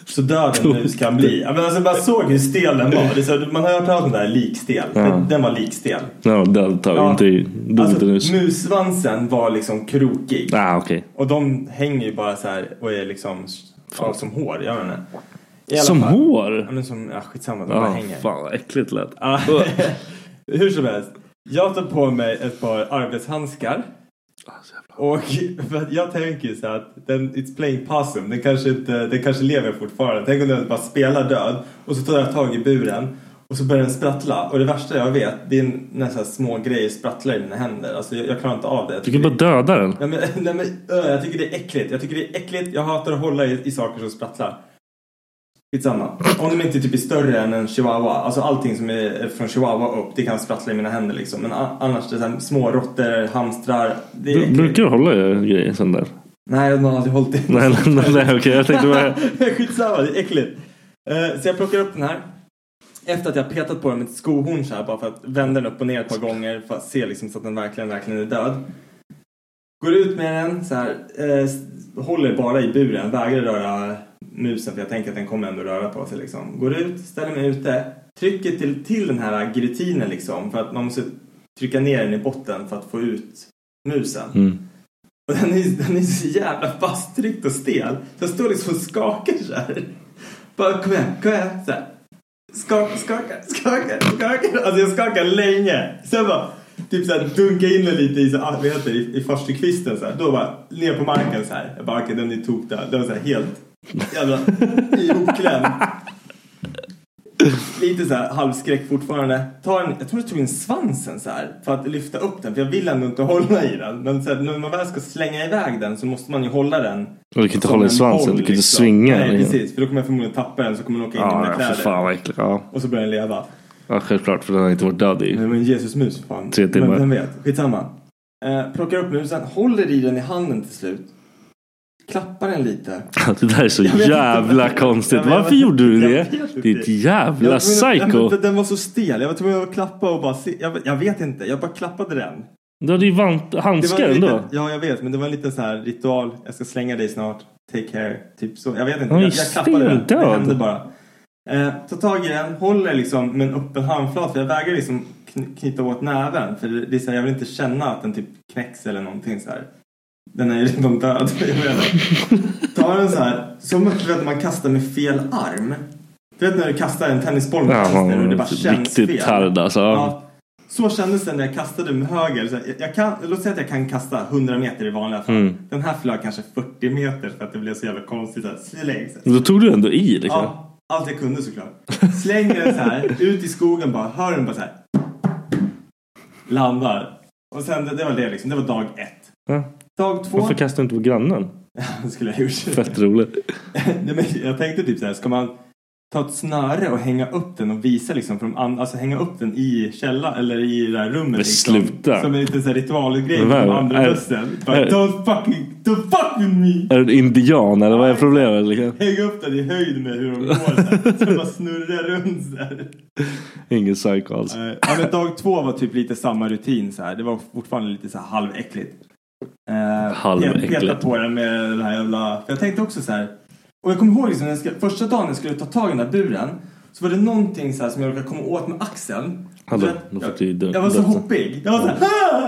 Speaker 4: Så död en mus kan bli. Ja, men alltså, jag bara såg hur stel den var. Det är så, här, man har ju hört talas om den där likstel.
Speaker 1: Ja.
Speaker 4: Den, den var likstel.
Speaker 1: Ja, död tar
Speaker 4: Ja.
Speaker 1: inte i. Dog
Speaker 4: Alltså,
Speaker 1: inte nyss.
Speaker 4: mussvansen var liksom krokig.
Speaker 1: Ah, okej.
Speaker 4: Och de hänger ju bara så här och är liksom ja, som hår. Jag vet inte. I alla
Speaker 1: Som
Speaker 4: fall.
Speaker 1: hår?
Speaker 4: Ja, men som, ja, skitsamma, de bara
Speaker 1: Ja,
Speaker 4: hänger.
Speaker 1: fan vad äckligt lät. Ah,
Speaker 4: Ja. Hur som helst. Jag tar på mig ett par arbetshandskar. Och för att jag tänker ju så här att den, it's playing possum. Den kanske, inte, den kanske lever fortfarande. Tänk om den bara spelar död. Och så tar jag tag i buren. Och så börjar den sprattla. Och det värsta jag vet det är när så här små grejer sprattlar i mina händer. Alltså jag, jag klarar inte av det. Jag
Speaker 1: Du kan bara döda den.
Speaker 4: Nej, men, [LAUGHS] nej, men, ö, jag tycker det är äckligt. Jag tycker det är äckligt. Jag hatar att hålla i, i saker som sprattlar. Skitsamma. Om de inte typ är större än en chihuahua. Alltså allting som är från chihuahua upp, det kan sprattla i mina händer liksom. Men a- annars, det är så här, små råttor, hamstrar. Det är
Speaker 1: Du,
Speaker 4: äckligt.
Speaker 1: brukar du hålla i grejer sån där?
Speaker 4: Nej, de har aldrig hållit i.
Speaker 1: Nej, nej, nej, nej, okej, jag tänkte bara-
Speaker 4: [LAUGHS] Skitsamma, det är äckligt. Eh, Så jag plockar upp den här. Efter att jag petat på den med ett skohorn så här bara för att vända den upp och ner ett par gånger för att se liksom så att den verkligen, verkligen är död. Går ut med den så här, eh, håller bara i buren, vägrar röra musen för jag tänker att den kommer ändå röra på sig liksom. Går ut, ställer mig ute, trycker till, till den här giljotinen liksom för att man måste trycka ner den i botten för att få ut musen.
Speaker 1: Mm.
Speaker 4: Och den är, den är så jävla fasttryckt och stel. Den står liksom och skakar så här. Bara kom igen, kom igen. Så här. Skaka, skaka, skaka, skaka. Alltså jag skakar länge. Sen bara typ så här dunka in den lite i så här, ah, vad heter det, i, i farstukvisten så här. Då bara ner på marken så här. Jag bara okej den är tokdöd. Den var så här helt jävla ihopklämd. Lite så här halvskräck fortfarande. Ta en, jag tror jag tog in svansen så här för att lyfta upp den för jag vill ändå inte hålla i den. Men så här, när man väl ska slänga iväg den så måste man ju hålla den.
Speaker 1: Och du kan inte
Speaker 4: som
Speaker 1: hålla i
Speaker 4: en
Speaker 1: svansen,
Speaker 4: boll, liksom.
Speaker 1: du kan inte svinga
Speaker 4: Nej
Speaker 1: den.
Speaker 4: precis, för då kommer jag förmodligen tappa den så kommer den åka in i mina
Speaker 1: Ja, för
Speaker 4: kläder.
Speaker 1: fan vad äckligt. Ja.
Speaker 4: Och så börjar den leva.
Speaker 1: ja, självklart för den har inte varit död i
Speaker 4: Nej men Jesusmus för fan.
Speaker 1: tre timmar.
Speaker 4: Men vem vet, skitsamma. Eh, plockar upp musen, håller i den i handen till slut. Klappar den lite.
Speaker 1: [LAUGHS] det där är så
Speaker 4: Jag vet inte.
Speaker 1: jävla konstigt.
Speaker 4: Jag vet-
Speaker 1: Varför gjorde du
Speaker 4: Jag
Speaker 1: det?
Speaker 4: vet inte.
Speaker 1: Ditt
Speaker 4: Jag
Speaker 1: jävla
Speaker 4: var tvungen att-
Speaker 1: psycho.
Speaker 4: Den, den var så stel. Jag var tvungen att klappa och bara se. Jag, jag vet inte. Jag bara klappade den.
Speaker 1: Du hade ju vant- handskar
Speaker 4: en liten,
Speaker 1: ändå.
Speaker 4: Ja, jag vet. Men det var en liten så här ritual. Jag ska slänga dig snart. Take care. Typ så. Jag vet inte.
Speaker 1: Oj,
Speaker 4: Jag, jag klappade den. Det
Speaker 1: stendöd.
Speaker 4: hände bara. Eh, tar tag i den. Håller liksom med en öppen handflat. För jag vägrar liksom kn- knyta åt näven. För det är så här, jag vill inte känna att den typ knäcks eller någonting så här. Den är ju redan död. [LAUGHS] Jag menar. Tar den så här. Som du vet, man kastar med fel arm. Du vet när du kastar en tennisboll med vänster och det bara känns fel.
Speaker 1: riktigt tärd alltså.
Speaker 4: Ja. Så kändes det när jag kastade med höger. Så jag, jag kan, låt säga att jag kan kasta 100 meter i vanliga fall.
Speaker 1: Mm.
Speaker 4: Den här flög kanske 40 meter för att det blev så jävla konstigt. Så här, släng, så här.
Speaker 1: Då tog du ändå i liksom.
Speaker 4: Ja, allt jag kunde såklart. Slänger den så här,
Speaker 1: [LAUGHS]
Speaker 4: ut i skogen bara, hör den bara så här. Landar. Och sen, det, det var det liksom, det var dag ett.
Speaker 1: Ja.
Speaker 4: Dag två.
Speaker 1: Varför kastade du inte på grannen?
Speaker 4: Det [LAUGHS] skulle jag ha gjort.
Speaker 1: Fett roligt.
Speaker 4: [LAUGHS] Nej, men jag tänkte typ så här, ska man ta ett snöre och hänga upp den och visa liksom för de andra, alltså hänga upp den i källa eller i det där rummet
Speaker 1: Men
Speaker 4: liksom.
Speaker 1: sluta.
Speaker 4: Som en liten så här ritualgrej
Speaker 1: Men
Speaker 4: för
Speaker 1: vad-
Speaker 4: de andra
Speaker 1: är-
Speaker 4: bussen. Bara,
Speaker 1: är-
Speaker 4: Don't fucking, don't fuck with me!
Speaker 1: Är du en indian eller vad är problemet? Liksom?
Speaker 4: Hänga upp den i höjd med hur de går så här. Så bara snurrar runt så här.
Speaker 1: Ingen psycho alls.
Speaker 4: Eh, Ja, men dag två var typ lite samma rutin så här. Det var fortfarande lite så här halväckligt. Eh,
Speaker 1: Halväckligt.
Speaker 4: pet- Peta på den med den här jävla... För jag tänkte också så här. Och jag kommer ihåg liksom, när jag ska, första dagen jag skulle ta tag i den där buren. Så var det någonting så här som jag råkade komma åt med axeln.
Speaker 1: Hallå,
Speaker 4: Så att-
Speaker 1: då fick du ju dö-
Speaker 4: jag var så
Speaker 1: dö-
Speaker 4: hoppig. Jag var så här,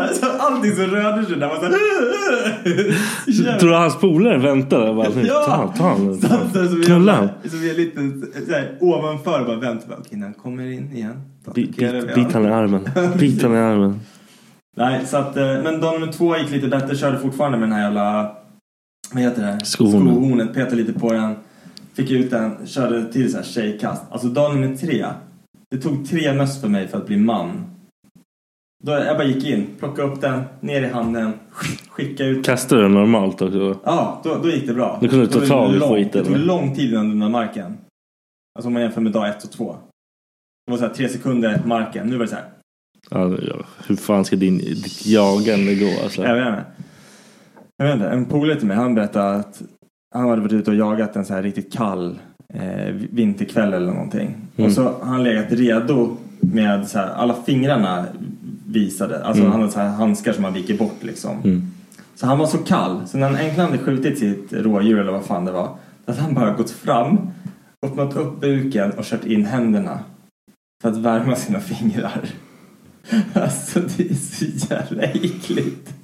Speaker 4: "Ah!" så allting som rörde sig där var så här, "Ah!"
Speaker 1: Tror du hans polare väntade? Jag Bara, nu,
Speaker 4: Ja!
Speaker 1: ta han, ta han.
Speaker 4: Så att- så- så-
Speaker 1: Knulla han.
Speaker 4: Så vi är lite så här, ovanför bara vänt. Bara, Okej, när han kommer in igen. då
Speaker 1: Bit,
Speaker 4: attackerar vi
Speaker 1: bit, bit han i armen. Bit
Speaker 4: Precis.
Speaker 1: han i armen.
Speaker 4: Nej, så att, eh, men dag nummer två gick lite bättre. Körde fortfarande med den här jävla... Vad heter det?
Speaker 1: Skohornen.
Speaker 4: Skohornet. Petade lite på den. Fick ut den. Körde till så här tjejkast. Alltså dag nummer tre. Det tog tre möss för mig för att bli man. Då jag bara gick in, plockade upp den, ner i handen, skickade ut
Speaker 1: Kastade den normalt också?
Speaker 4: Ja, då, då gick det bra.
Speaker 1: Då kunde du
Speaker 4: Det
Speaker 1: ta
Speaker 4: tog
Speaker 1: tag i
Speaker 4: lång-
Speaker 1: skiten,
Speaker 4: Det tog
Speaker 1: va?
Speaker 4: lång tid innan den där marken. Alltså om man jämför med dag ett och två. Det var så här tre sekunder marken. Nu var det så här.
Speaker 1: Ja, det- ja. Hur fan ska din, ditt jagande gå alltså?
Speaker 4: Jag vet inte. Jag vet inte. En polare till mig, han berättade att han hade varit ute och jagat en så här riktigt kall eh, vinterkväll eller någonting.
Speaker 1: Mm.
Speaker 4: Och så har han legat redo med så här, alla fingrarna visade. Alltså
Speaker 1: Mm.
Speaker 4: han hade så här handskar som han viker bort liksom.
Speaker 1: Mm.
Speaker 4: Så han var så kall. Så när han äntligen hade skjutit sitt rådjur eller vad fan det var. Då hade han bara gått fram, öppnat upp buken och kört in händerna. För att värma sina fingrar. [LAUGHS] Alltså det är så jävla äckligt.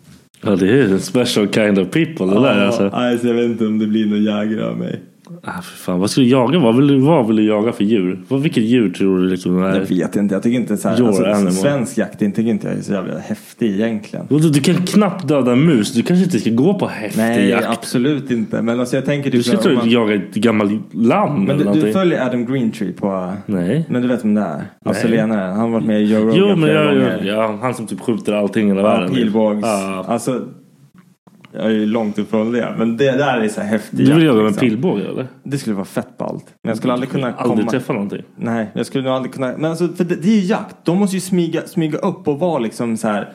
Speaker 1: Ja, det är en special kind of people det där alltså.
Speaker 4: alltså. Jag vet inte om det blir någon jägare av mig.
Speaker 1: Ah, för fan. Vad ska du jaga? Vad vill du, vad vill du jaga för djur? Vad, vilket djur tror du liksom
Speaker 4: Jag
Speaker 1: är...
Speaker 4: vet inte. Jag tycker inte så här,
Speaker 1: Your
Speaker 4: alltså,
Speaker 1: animal.
Speaker 4: svensk jakt inte tycker inte jag är så jävla häftig egentligen.
Speaker 1: Vadå, Du kan knappt döda en mus. Du kanske inte ska gå på häftig
Speaker 4: Nej,
Speaker 1: jakt.
Speaker 4: absolut inte. Men alltså jag tänker
Speaker 1: Du
Speaker 4: typ...
Speaker 1: ska
Speaker 4: så här,
Speaker 1: inte
Speaker 4: om man-
Speaker 1: jaga ett gammalt lamm
Speaker 4: Men
Speaker 1: eller
Speaker 4: du, du
Speaker 1: någonting.
Speaker 4: följer Adam Greentree på...
Speaker 1: Nej.
Speaker 4: Men du vet vem det är? Australienaren. Han Mm, har varit med i Joe Rogan
Speaker 1: Jo, men
Speaker 4: flera
Speaker 1: jag,
Speaker 4: gånger.
Speaker 1: jag, ja, han som typ skjuter allting i hela
Speaker 4: Ja,
Speaker 1: världen.
Speaker 4: pilbågs.
Speaker 1: Ja.
Speaker 4: Alltså, jag är ju långt ifrån det. Men det där är så här häftig
Speaker 1: Du vill
Speaker 4: jakt,
Speaker 1: jaga med
Speaker 4: liksom.
Speaker 1: pilbåge eller?
Speaker 4: Det skulle vara fett ballt. Men jag skulle aldrig kunna komma...
Speaker 1: Aldrig träffa någonting.
Speaker 4: Nej, jag skulle nog aldrig kunna... Men alltså, för det, det är ju jakt. De måste ju smyga, smyga upp och vara liksom så här...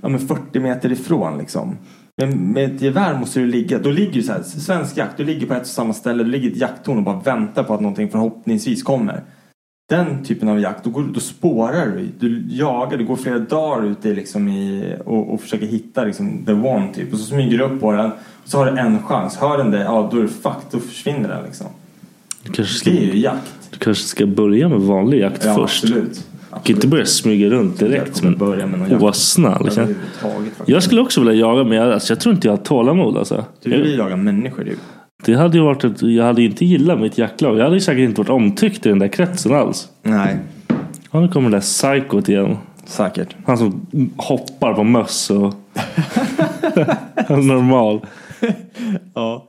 Speaker 4: Ja, men 40 meter ifrån liksom. Men med ett gevär måste du ligga... Då ligger du så här... Svensk jakt, du ligger på ett och samma ställe. Du ligger i ett jakttorn och bara väntar på att någonting förhoppningsvis kommer. Den typen av jakt, då, går, du- då spårar du. Du jagar, du går flera dagar ute liksom i, och, och försöker hitta liksom, the one typ. Och så smyger du upp på den. Och så har du en chans. Hör den dig, ja då är du fucked. Då försvinner den liksom.
Speaker 1: Du kanske ska,
Speaker 4: Det är ju jakt.
Speaker 1: Du kanske ska börja med vanlig jakt
Speaker 4: Ja,
Speaker 1: först.
Speaker 4: absolut.
Speaker 1: Du kan inte börja smyga runt direkt. Men,
Speaker 4: börja med någon
Speaker 1: och
Speaker 4: jakt.
Speaker 1: vara snäll. Känns.
Speaker 4: Överhuvudtaget faktiskt.
Speaker 1: Jag skulle också vilja jaga men jag, alltså, jag tror inte jag har tålamod alltså.
Speaker 4: Du vill ju
Speaker 1: jag,
Speaker 4: jaga människor du.
Speaker 1: det hade ju varit ett, jag hade ju inte gillat mitt jaktlag. Jag hade ju säkert inte varit omtyckt i den där kretsen alls.
Speaker 4: Nej.
Speaker 1: Ja, nu kommer det där psykot igen.
Speaker 4: Säkert.
Speaker 1: Han som hoppar på möss
Speaker 4: [LAUGHS]
Speaker 1: och... Normal.
Speaker 4: Ja.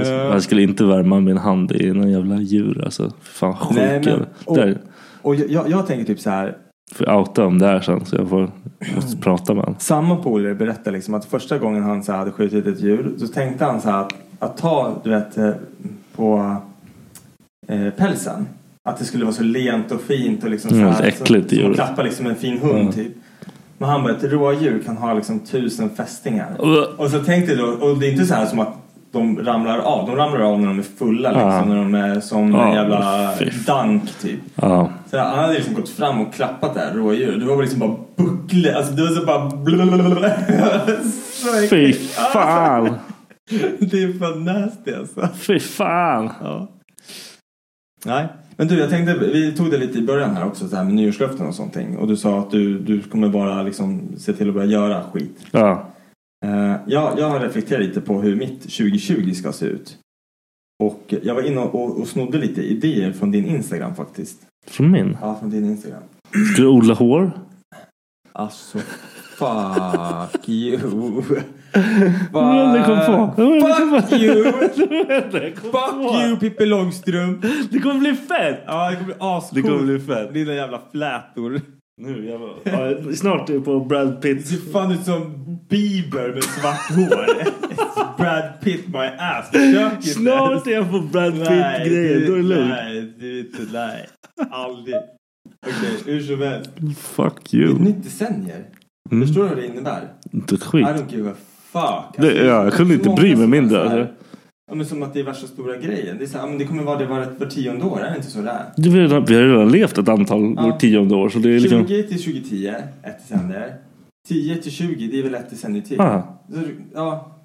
Speaker 4: Eh.
Speaker 1: Jag skulle inte värma min hand i någon jävla djur alltså. Fy Fan
Speaker 4: Nej, men,
Speaker 1: sjuka.
Speaker 4: och-
Speaker 1: Där,
Speaker 4: Och jag, jag, jag tänker typ så här.
Speaker 1: får jag outa om det här sen så jag får, måste prata med honom.
Speaker 4: Samma polare berättade liksom att första gången han så här hade skjutit ett djur så tänkte han så här att, att ta du vet eh, på eh, pälsen. Att det skulle vara så lent och fint och liksom så
Speaker 1: Mm,
Speaker 4: här.
Speaker 1: ett äckligt
Speaker 4: som, som
Speaker 1: djur.
Speaker 4: att klappa liksom en fin hund
Speaker 1: Mm.
Speaker 4: typ. Men han bara ett rådjur kan ha liksom tusen fästingar.
Speaker 1: Ugh.
Speaker 4: Och så tänkte då, och det är inte så här som att de ramlar av. De ramlar av när de är fulla liksom.
Speaker 1: Ja.
Speaker 4: När de är som
Speaker 1: Ja,
Speaker 4: en jävla
Speaker 1: fy.
Speaker 4: dank typ.
Speaker 1: Ja.
Speaker 4: Så han hade liksom gått fram och klappat det här rådjuret. Det var bara liksom bara buckle. Alltså det var så bara... blablabla. så
Speaker 1: Fy
Speaker 4: äckligt.
Speaker 1: fan!
Speaker 4: [LAUGHS] Det är fan nasty alltså.
Speaker 1: Fy fan!
Speaker 4: Ja. Nej. Men du, jag tänkte, vi tog det lite i början här också, så här med nyårslöften och sånt. Och du sa att du, du kommer bara liksom se till att börja göra skit.
Speaker 1: Ja.
Speaker 4: Eh, jag, jag har reflekterat lite på hur mitt 2020 ska se ut. Och jag var inne och, och snodde lite idéer från din Instagram faktiskt.
Speaker 1: Från min?
Speaker 4: Ja, från din Instagram.
Speaker 1: Ska du odla hår?
Speaker 4: [LAUGHS] Alltså, fuck [LAUGHS] you.
Speaker 1: Vad var det jag kom på? Vad var det jag kom
Speaker 4: Fuck
Speaker 1: [LAUGHS]
Speaker 4: you!
Speaker 1: på?
Speaker 4: Fuck you Pippi Långstrump!
Speaker 1: Det kommer bli fett!
Speaker 4: Ja, det kommer bli ascoolt.
Speaker 1: Det kommer bli fett.
Speaker 4: Dina jävla flätor.
Speaker 1: Nu jävlar. Ja, Snart är du på Brad Pitt.
Speaker 4: Du ser fan ut som Bieber med svart hår. [LAUGHS] It's Brad Pitt my ass. Försök inte.
Speaker 1: Snart är jag på Brad
Speaker 4: Nej,
Speaker 1: Pitt-grejen. Då är det lugnt.
Speaker 4: Nej, du är inte... Nej. Aldrig. Okej, hur som helst.
Speaker 1: Fuck
Speaker 4: Ett
Speaker 1: you.
Speaker 4: nytt decennier.
Speaker 1: Mm.
Speaker 4: Förstår du vad det innebär?
Speaker 1: Inte ett skit.
Speaker 4: I don't give a fuck. Alltså,
Speaker 1: Det, ja, jag kunde
Speaker 4: så
Speaker 1: inte
Speaker 4: många
Speaker 1: bry mig
Speaker 4: som är
Speaker 1: mindre.
Speaker 4: så här-
Speaker 1: Alltså.
Speaker 4: Ja, men som att det är värsta stora grejen. Det, är så här, ja, men det kommer vara det var, var tionde år, är det inte så det är?
Speaker 1: Du, Vi har redan- vi har redan levt ett antal
Speaker 4: Ja.
Speaker 1: årtionde år. Så det är liksom...
Speaker 4: 20 till 2010, ett decennier. 10 till 20, det är väl ett decennium till?
Speaker 1: Ja.
Speaker 4: Så, ja,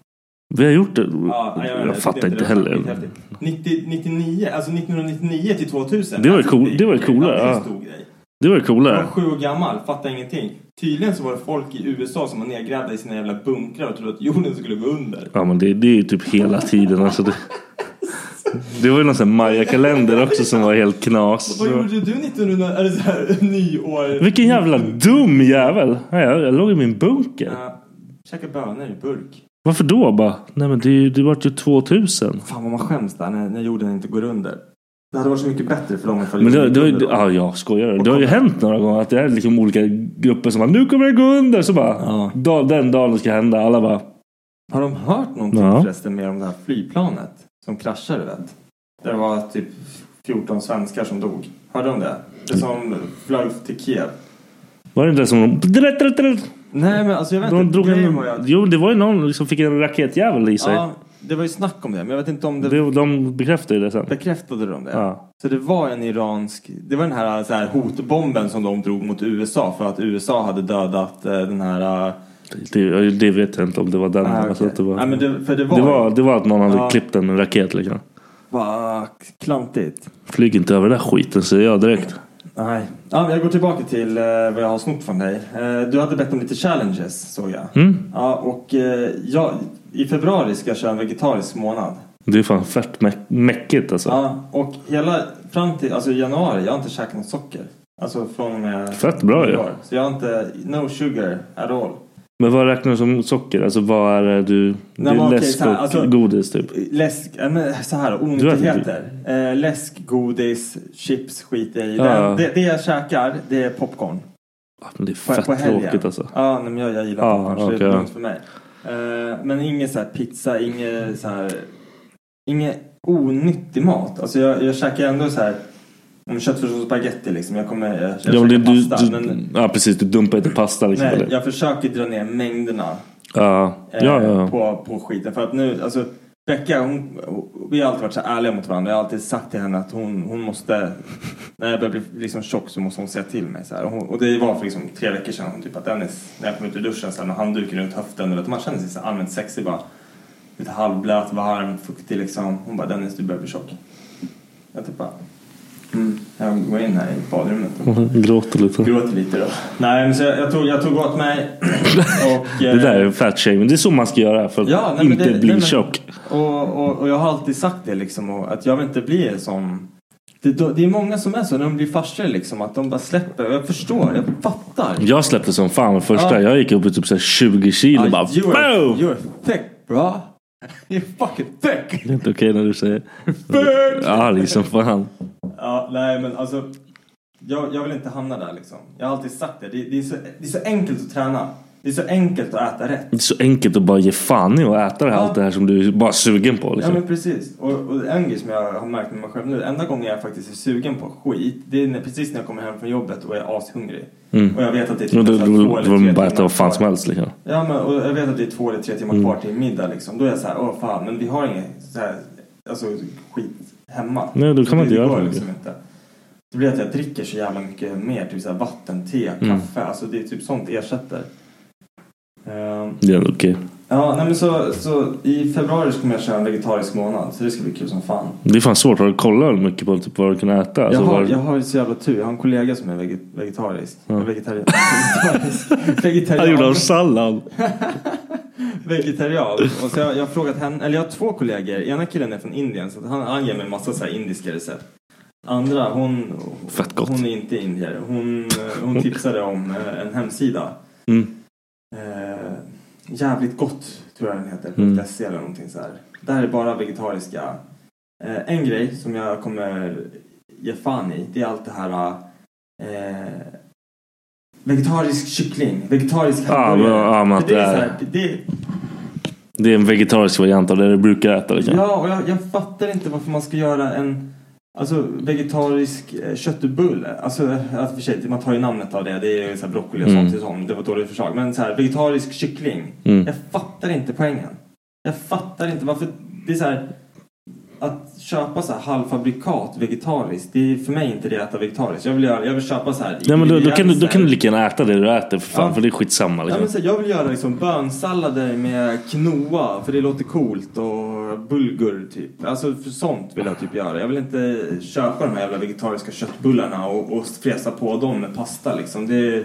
Speaker 1: Vi har gjort det.
Speaker 4: ja, nej,
Speaker 1: Jag
Speaker 4: vet,
Speaker 1: fattar
Speaker 4: det är
Speaker 1: inte
Speaker 4: rätt, det är
Speaker 1: heller.
Speaker 4: häftigt. 90, 99, alltså 1999 till 2000.
Speaker 1: Det var
Speaker 4: alltså,
Speaker 1: cool- det var
Speaker 4: är
Speaker 1: coolare,
Speaker 4: en
Speaker 1: ja.
Speaker 4: stor grej.
Speaker 1: Det var
Speaker 4: Jag var
Speaker 1: coolare.
Speaker 4: sju år gammal, fattar ingenting. Tydligen så var det folk i USA som var nedgrävda i sina jävla bunkrar och trodde att jorden skulle gå under.
Speaker 1: Ja men det, det är ju typ hela tiden. Alltså det, det var ju någon sån här Maya-kalender också som var helt knas.
Speaker 4: Vad gjorde du 1900, eller så här, [LAUGHS] nyår?
Speaker 1: Alltså. Vilken jävla dum jävel. Ja, Jag, jag låg i min bunker.
Speaker 4: Ja, käka bönor i burk.
Speaker 1: Varför då bara? Nej men det, är ju- det vart ju 2000.
Speaker 4: Fan vad man skäms där när, när jorden inte går under. Det hade varit så mycket bättre för dem ifall
Speaker 1: Men det,
Speaker 4: jorden
Speaker 1: det, har
Speaker 4: gick
Speaker 1: ju-
Speaker 4: under då.
Speaker 1: ja, jag skojar. Det har ju hänt några gånger att det är liksom olika grupper som bara nu kommer det gå under. Så bara
Speaker 4: Ja.
Speaker 1: "Da- den dagen det ska hända. Alla bara
Speaker 4: Har de hört någonting
Speaker 1: Ja.
Speaker 4: förresten mer om det här flygplanet som kraschade du vet? Där det var typ 14 svenskar som dog. Hörde de det? Det som flög till Kiev.
Speaker 1: var det inte som de...
Speaker 4: Nej men alltså jag vet
Speaker 1: De
Speaker 4: inte.
Speaker 1: drog
Speaker 4: Grejen
Speaker 1: en,
Speaker 4: var ju att-
Speaker 1: jo, det var ju någon som fick en raketjävel i sig.
Speaker 4: Ja, det var ju snack om det men jag vet inte om det...
Speaker 1: Det, de bekräftade det sen.
Speaker 4: Bekräftade de det?
Speaker 1: Ja.
Speaker 4: Så det var en iransk... Det var den här, så här hotbomben som de drog mot USA för att USA hade dödat eh, den här... eh,
Speaker 1: Det, det vet jag inte om det var den.
Speaker 4: Ah,
Speaker 1: alltså,
Speaker 4: okej.
Speaker 1: att det, var,
Speaker 4: Ja, men det- för det var-
Speaker 1: det, var, det var att någon hade
Speaker 4: Ja.
Speaker 1: klippt den med en raket. Liksom.
Speaker 4: Vad klantigt.
Speaker 1: Flyg inte över den här skiten säger jag direkt.
Speaker 4: Nej. Ja, men jag går tillbaka till eh, vad jag har snott från dig. Eh, du hade bett om lite challenges såg jag.
Speaker 1: Mm.
Speaker 4: Ja, och eh, jag, i februari ska jag köra en vegetarisk månad.
Speaker 1: Det är fan fett mä- mäckigt alltså.
Speaker 4: Ja, och hela fram till alltså, i januari, jag har inte käkat något socker. Alltså från och med...
Speaker 1: Fett bra ju.
Speaker 4: i år. Så jag har inte, no sugar at all.
Speaker 1: Men vad räknar du som socker? Alltså vad är det du... det
Speaker 4: men
Speaker 1: är
Speaker 4: okej,
Speaker 1: läsk
Speaker 4: så här,
Speaker 1: och
Speaker 4: alltså-
Speaker 1: godis typ.
Speaker 4: Läsk, ja, men så här onyttigheter. Eh, läsk, godis, chips skiter jag i.
Speaker 1: Ja.
Speaker 4: Den, det, det jag käkar, det är popcorn.
Speaker 1: Ja, men det är
Speaker 4: På,
Speaker 1: fett
Speaker 4: på helgen.
Speaker 1: tråkigt alltså.
Speaker 4: Ja, nej, men jag, jag gillar
Speaker 1: Ja,
Speaker 4: popcorn så det
Speaker 1: okej,
Speaker 4: är
Speaker 1: ja.
Speaker 4: lugnt för mig. Eh, men ingen så här pizza, ingen så här... Ingen onyttig mat. Alltså jag, jag käkar ändå så här... Om köttfärssås och spagetti liksom. Jag kommer... Jag, jag
Speaker 1: Ja, men
Speaker 4: käkar
Speaker 1: det, du,
Speaker 4: pasta.
Speaker 1: du,
Speaker 4: men,
Speaker 1: ja precis, du dumpar inte pasta liksom.
Speaker 4: nej,
Speaker 1: eller?
Speaker 4: jag försöker dra ner mängderna
Speaker 1: Ja,
Speaker 4: eh,
Speaker 1: ja, ja.
Speaker 4: På, på skiten. För att nu, alltså Becka, hon, vi har alltid varit så här ärliga mot varandra. Jag har alltid sagt till henne att hon, hon måste, när jag börjar bli liksom tjock så måste hon säga till mig. Så här. Och, hon, och det var för liksom tre veckor sedan hon typ att Dennis, när jag kom ut ur duschen så här, med handduken runt höften. Och att man känner sig så här allmänt sexig bara. Lite halvblöt, varm, fuktig liksom. Hon bara Dennis du börjar bli tjock. Jag typ bara... Mm. Jag går in här i badrummet.
Speaker 1: Mm. Gråter lite.
Speaker 4: Gråter lite då. Nej, men så jag, jag, tog, jag tog
Speaker 1: [LAUGHS]
Speaker 4: åt mig. Och, eh,
Speaker 1: Det där är fat shaming. Det är så man ska göra för att
Speaker 4: Ja, nej, men
Speaker 1: inte
Speaker 4: det-
Speaker 1: bli
Speaker 4: nej, men-
Speaker 1: tjock.
Speaker 4: Och, och, och jag har alltid sagt det liksom och att jag vill inte bli en sån. Det, det är många som är så när de blir farsor liksom att de bara släpper. Och Jag förstår, jag fattar.
Speaker 1: Jag släppte som fan första.
Speaker 4: Ja.
Speaker 1: Jag gick upp i typ så här 20 kilo
Speaker 4: Ah,
Speaker 1: bara.
Speaker 4: you are,
Speaker 1: Boom!
Speaker 4: you are thick bro. [LAUGHS] You're fucking thick.
Speaker 1: Det är inte okej när du säger. Arg som fan.
Speaker 4: Ja, nej men alltså. Jag, jag vill inte hamna där liksom. Jag har alltid sagt det. Det, det, är så, det är så enkelt att träna. Det är så enkelt att äta rätt.
Speaker 1: Det är så enkelt att bara ge fan i och äta det här,
Speaker 4: Ja.
Speaker 1: allt det här som du är bara sugen på. Liksom.
Speaker 4: Ja men precis. Och, och en grej som jag har märkt med mig själv nu. Enda gången jag faktiskt är sugen på skit. Det är när, precis när jag kommer hem från jobbet och är ashungrig.
Speaker 1: Mm.
Speaker 4: Och jag vet att det är
Speaker 1: Ja,
Speaker 4: typ
Speaker 1: då-
Speaker 4: så här
Speaker 1: då-
Speaker 4: två eller
Speaker 1: då vill man
Speaker 4: tre
Speaker 1: bara äta
Speaker 4: timmar
Speaker 1: vad fan
Speaker 4: kvar.
Speaker 1: som helst, liksom.
Speaker 4: Ja men och jag vet att det är två eller tre timmar
Speaker 1: Mm.
Speaker 4: kvar till middag liksom. Då är jag så här, åh fan men vi har inget så här, alltså skit hemma.
Speaker 1: Nej, då kan man inte
Speaker 4: Det- det
Speaker 1: göra
Speaker 4: går
Speaker 1: så
Speaker 4: liksom inte. Det blir att jag dricker så jävla mycket mer. Typ så här vatten, te, kaffe.
Speaker 1: Mm.
Speaker 4: Alltså det är typ sånt ersätter. Ehm,
Speaker 1: Det är ändå okej.
Speaker 4: Ja, nej men så, så i februari så kommer jag köra en vegetarisk månad så det ska bli kul som fan.
Speaker 1: Det är fan svårt. Har du kollat mycket på typ, vad du kan äta? Alltså,
Speaker 4: jag, har,
Speaker 1: vad-
Speaker 4: jag har ju så jävla tur, jag har en kollega som är veget- vegetarisk.
Speaker 1: Ja.
Speaker 4: Vegetarian. [LAUGHS] vegetarian.
Speaker 1: Han gjorde av sallad.
Speaker 4: [LAUGHS] Vegetarian. Och så jag, jag har frågat henne, eller jag har två kollegor. Ena killen är från Indien så att han, han ger mig en massa så här indiska recept. Andra, hon, hon är inte indier. Hon, eh, hon tipsade om eh, en hemsida.
Speaker 1: Mm.
Speaker 4: Eh, jävligt gott tror jag den heter.
Speaker 1: Mm.
Speaker 4: .se eller någonting så här. Det här är bara vegetariska. Eh, en grej som jag kommer ge fan i det är allt det här eh, vegetarisk kyckling, vegetarisk
Speaker 1: Ja, men- ja, men
Speaker 4: För det, är
Speaker 1: att
Speaker 4: så
Speaker 1: det
Speaker 4: här, det,
Speaker 1: Det är en vegetarisk variant av det du brukar äta. Liksom.
Speaker 4: Ja, och jag, jag fattar inte varför man ska göra en alltså, vegetarisk eh, köttbulle. Alltså, att för sig, man tar ju namnet av det. Det är ju så här broccoli och
Speaker 1: Mm.
Speaker 4: sånt. Mm. Det var ett dåligt förslag. Men så här, vegetarisk kyckling.
Speaker 1: Mm.
Speaker 4: Jag fattar inte poängen. Jag fattar inte varför. Det är så här, att köpa så här halvfabrikat vegetariskt, det är för mig inte det att äta vegetariskt. Jag vill, göra, jag vill köpa så här
Speaker 1: Nej, men då, då, kan du, då
Speaker 4: ingredienser.
Speaker 1: kan du lika gärna äta det du äter för fan.
Speaker 4: Ja.
Speaker 1: För det är skitsamma.
Speaker 4: Ja,
Speaker 1: Liksom.
Speaker 4: men så här, jag vill göra liksom bönsallader med quinoa för det låter coolt och bulgur typ. Alltså för sånt vill jag typ göra. Jag vill inte köpa de här jävla vegetariska köttbullarna och, och fräsa på dem med pasta liksom. Det,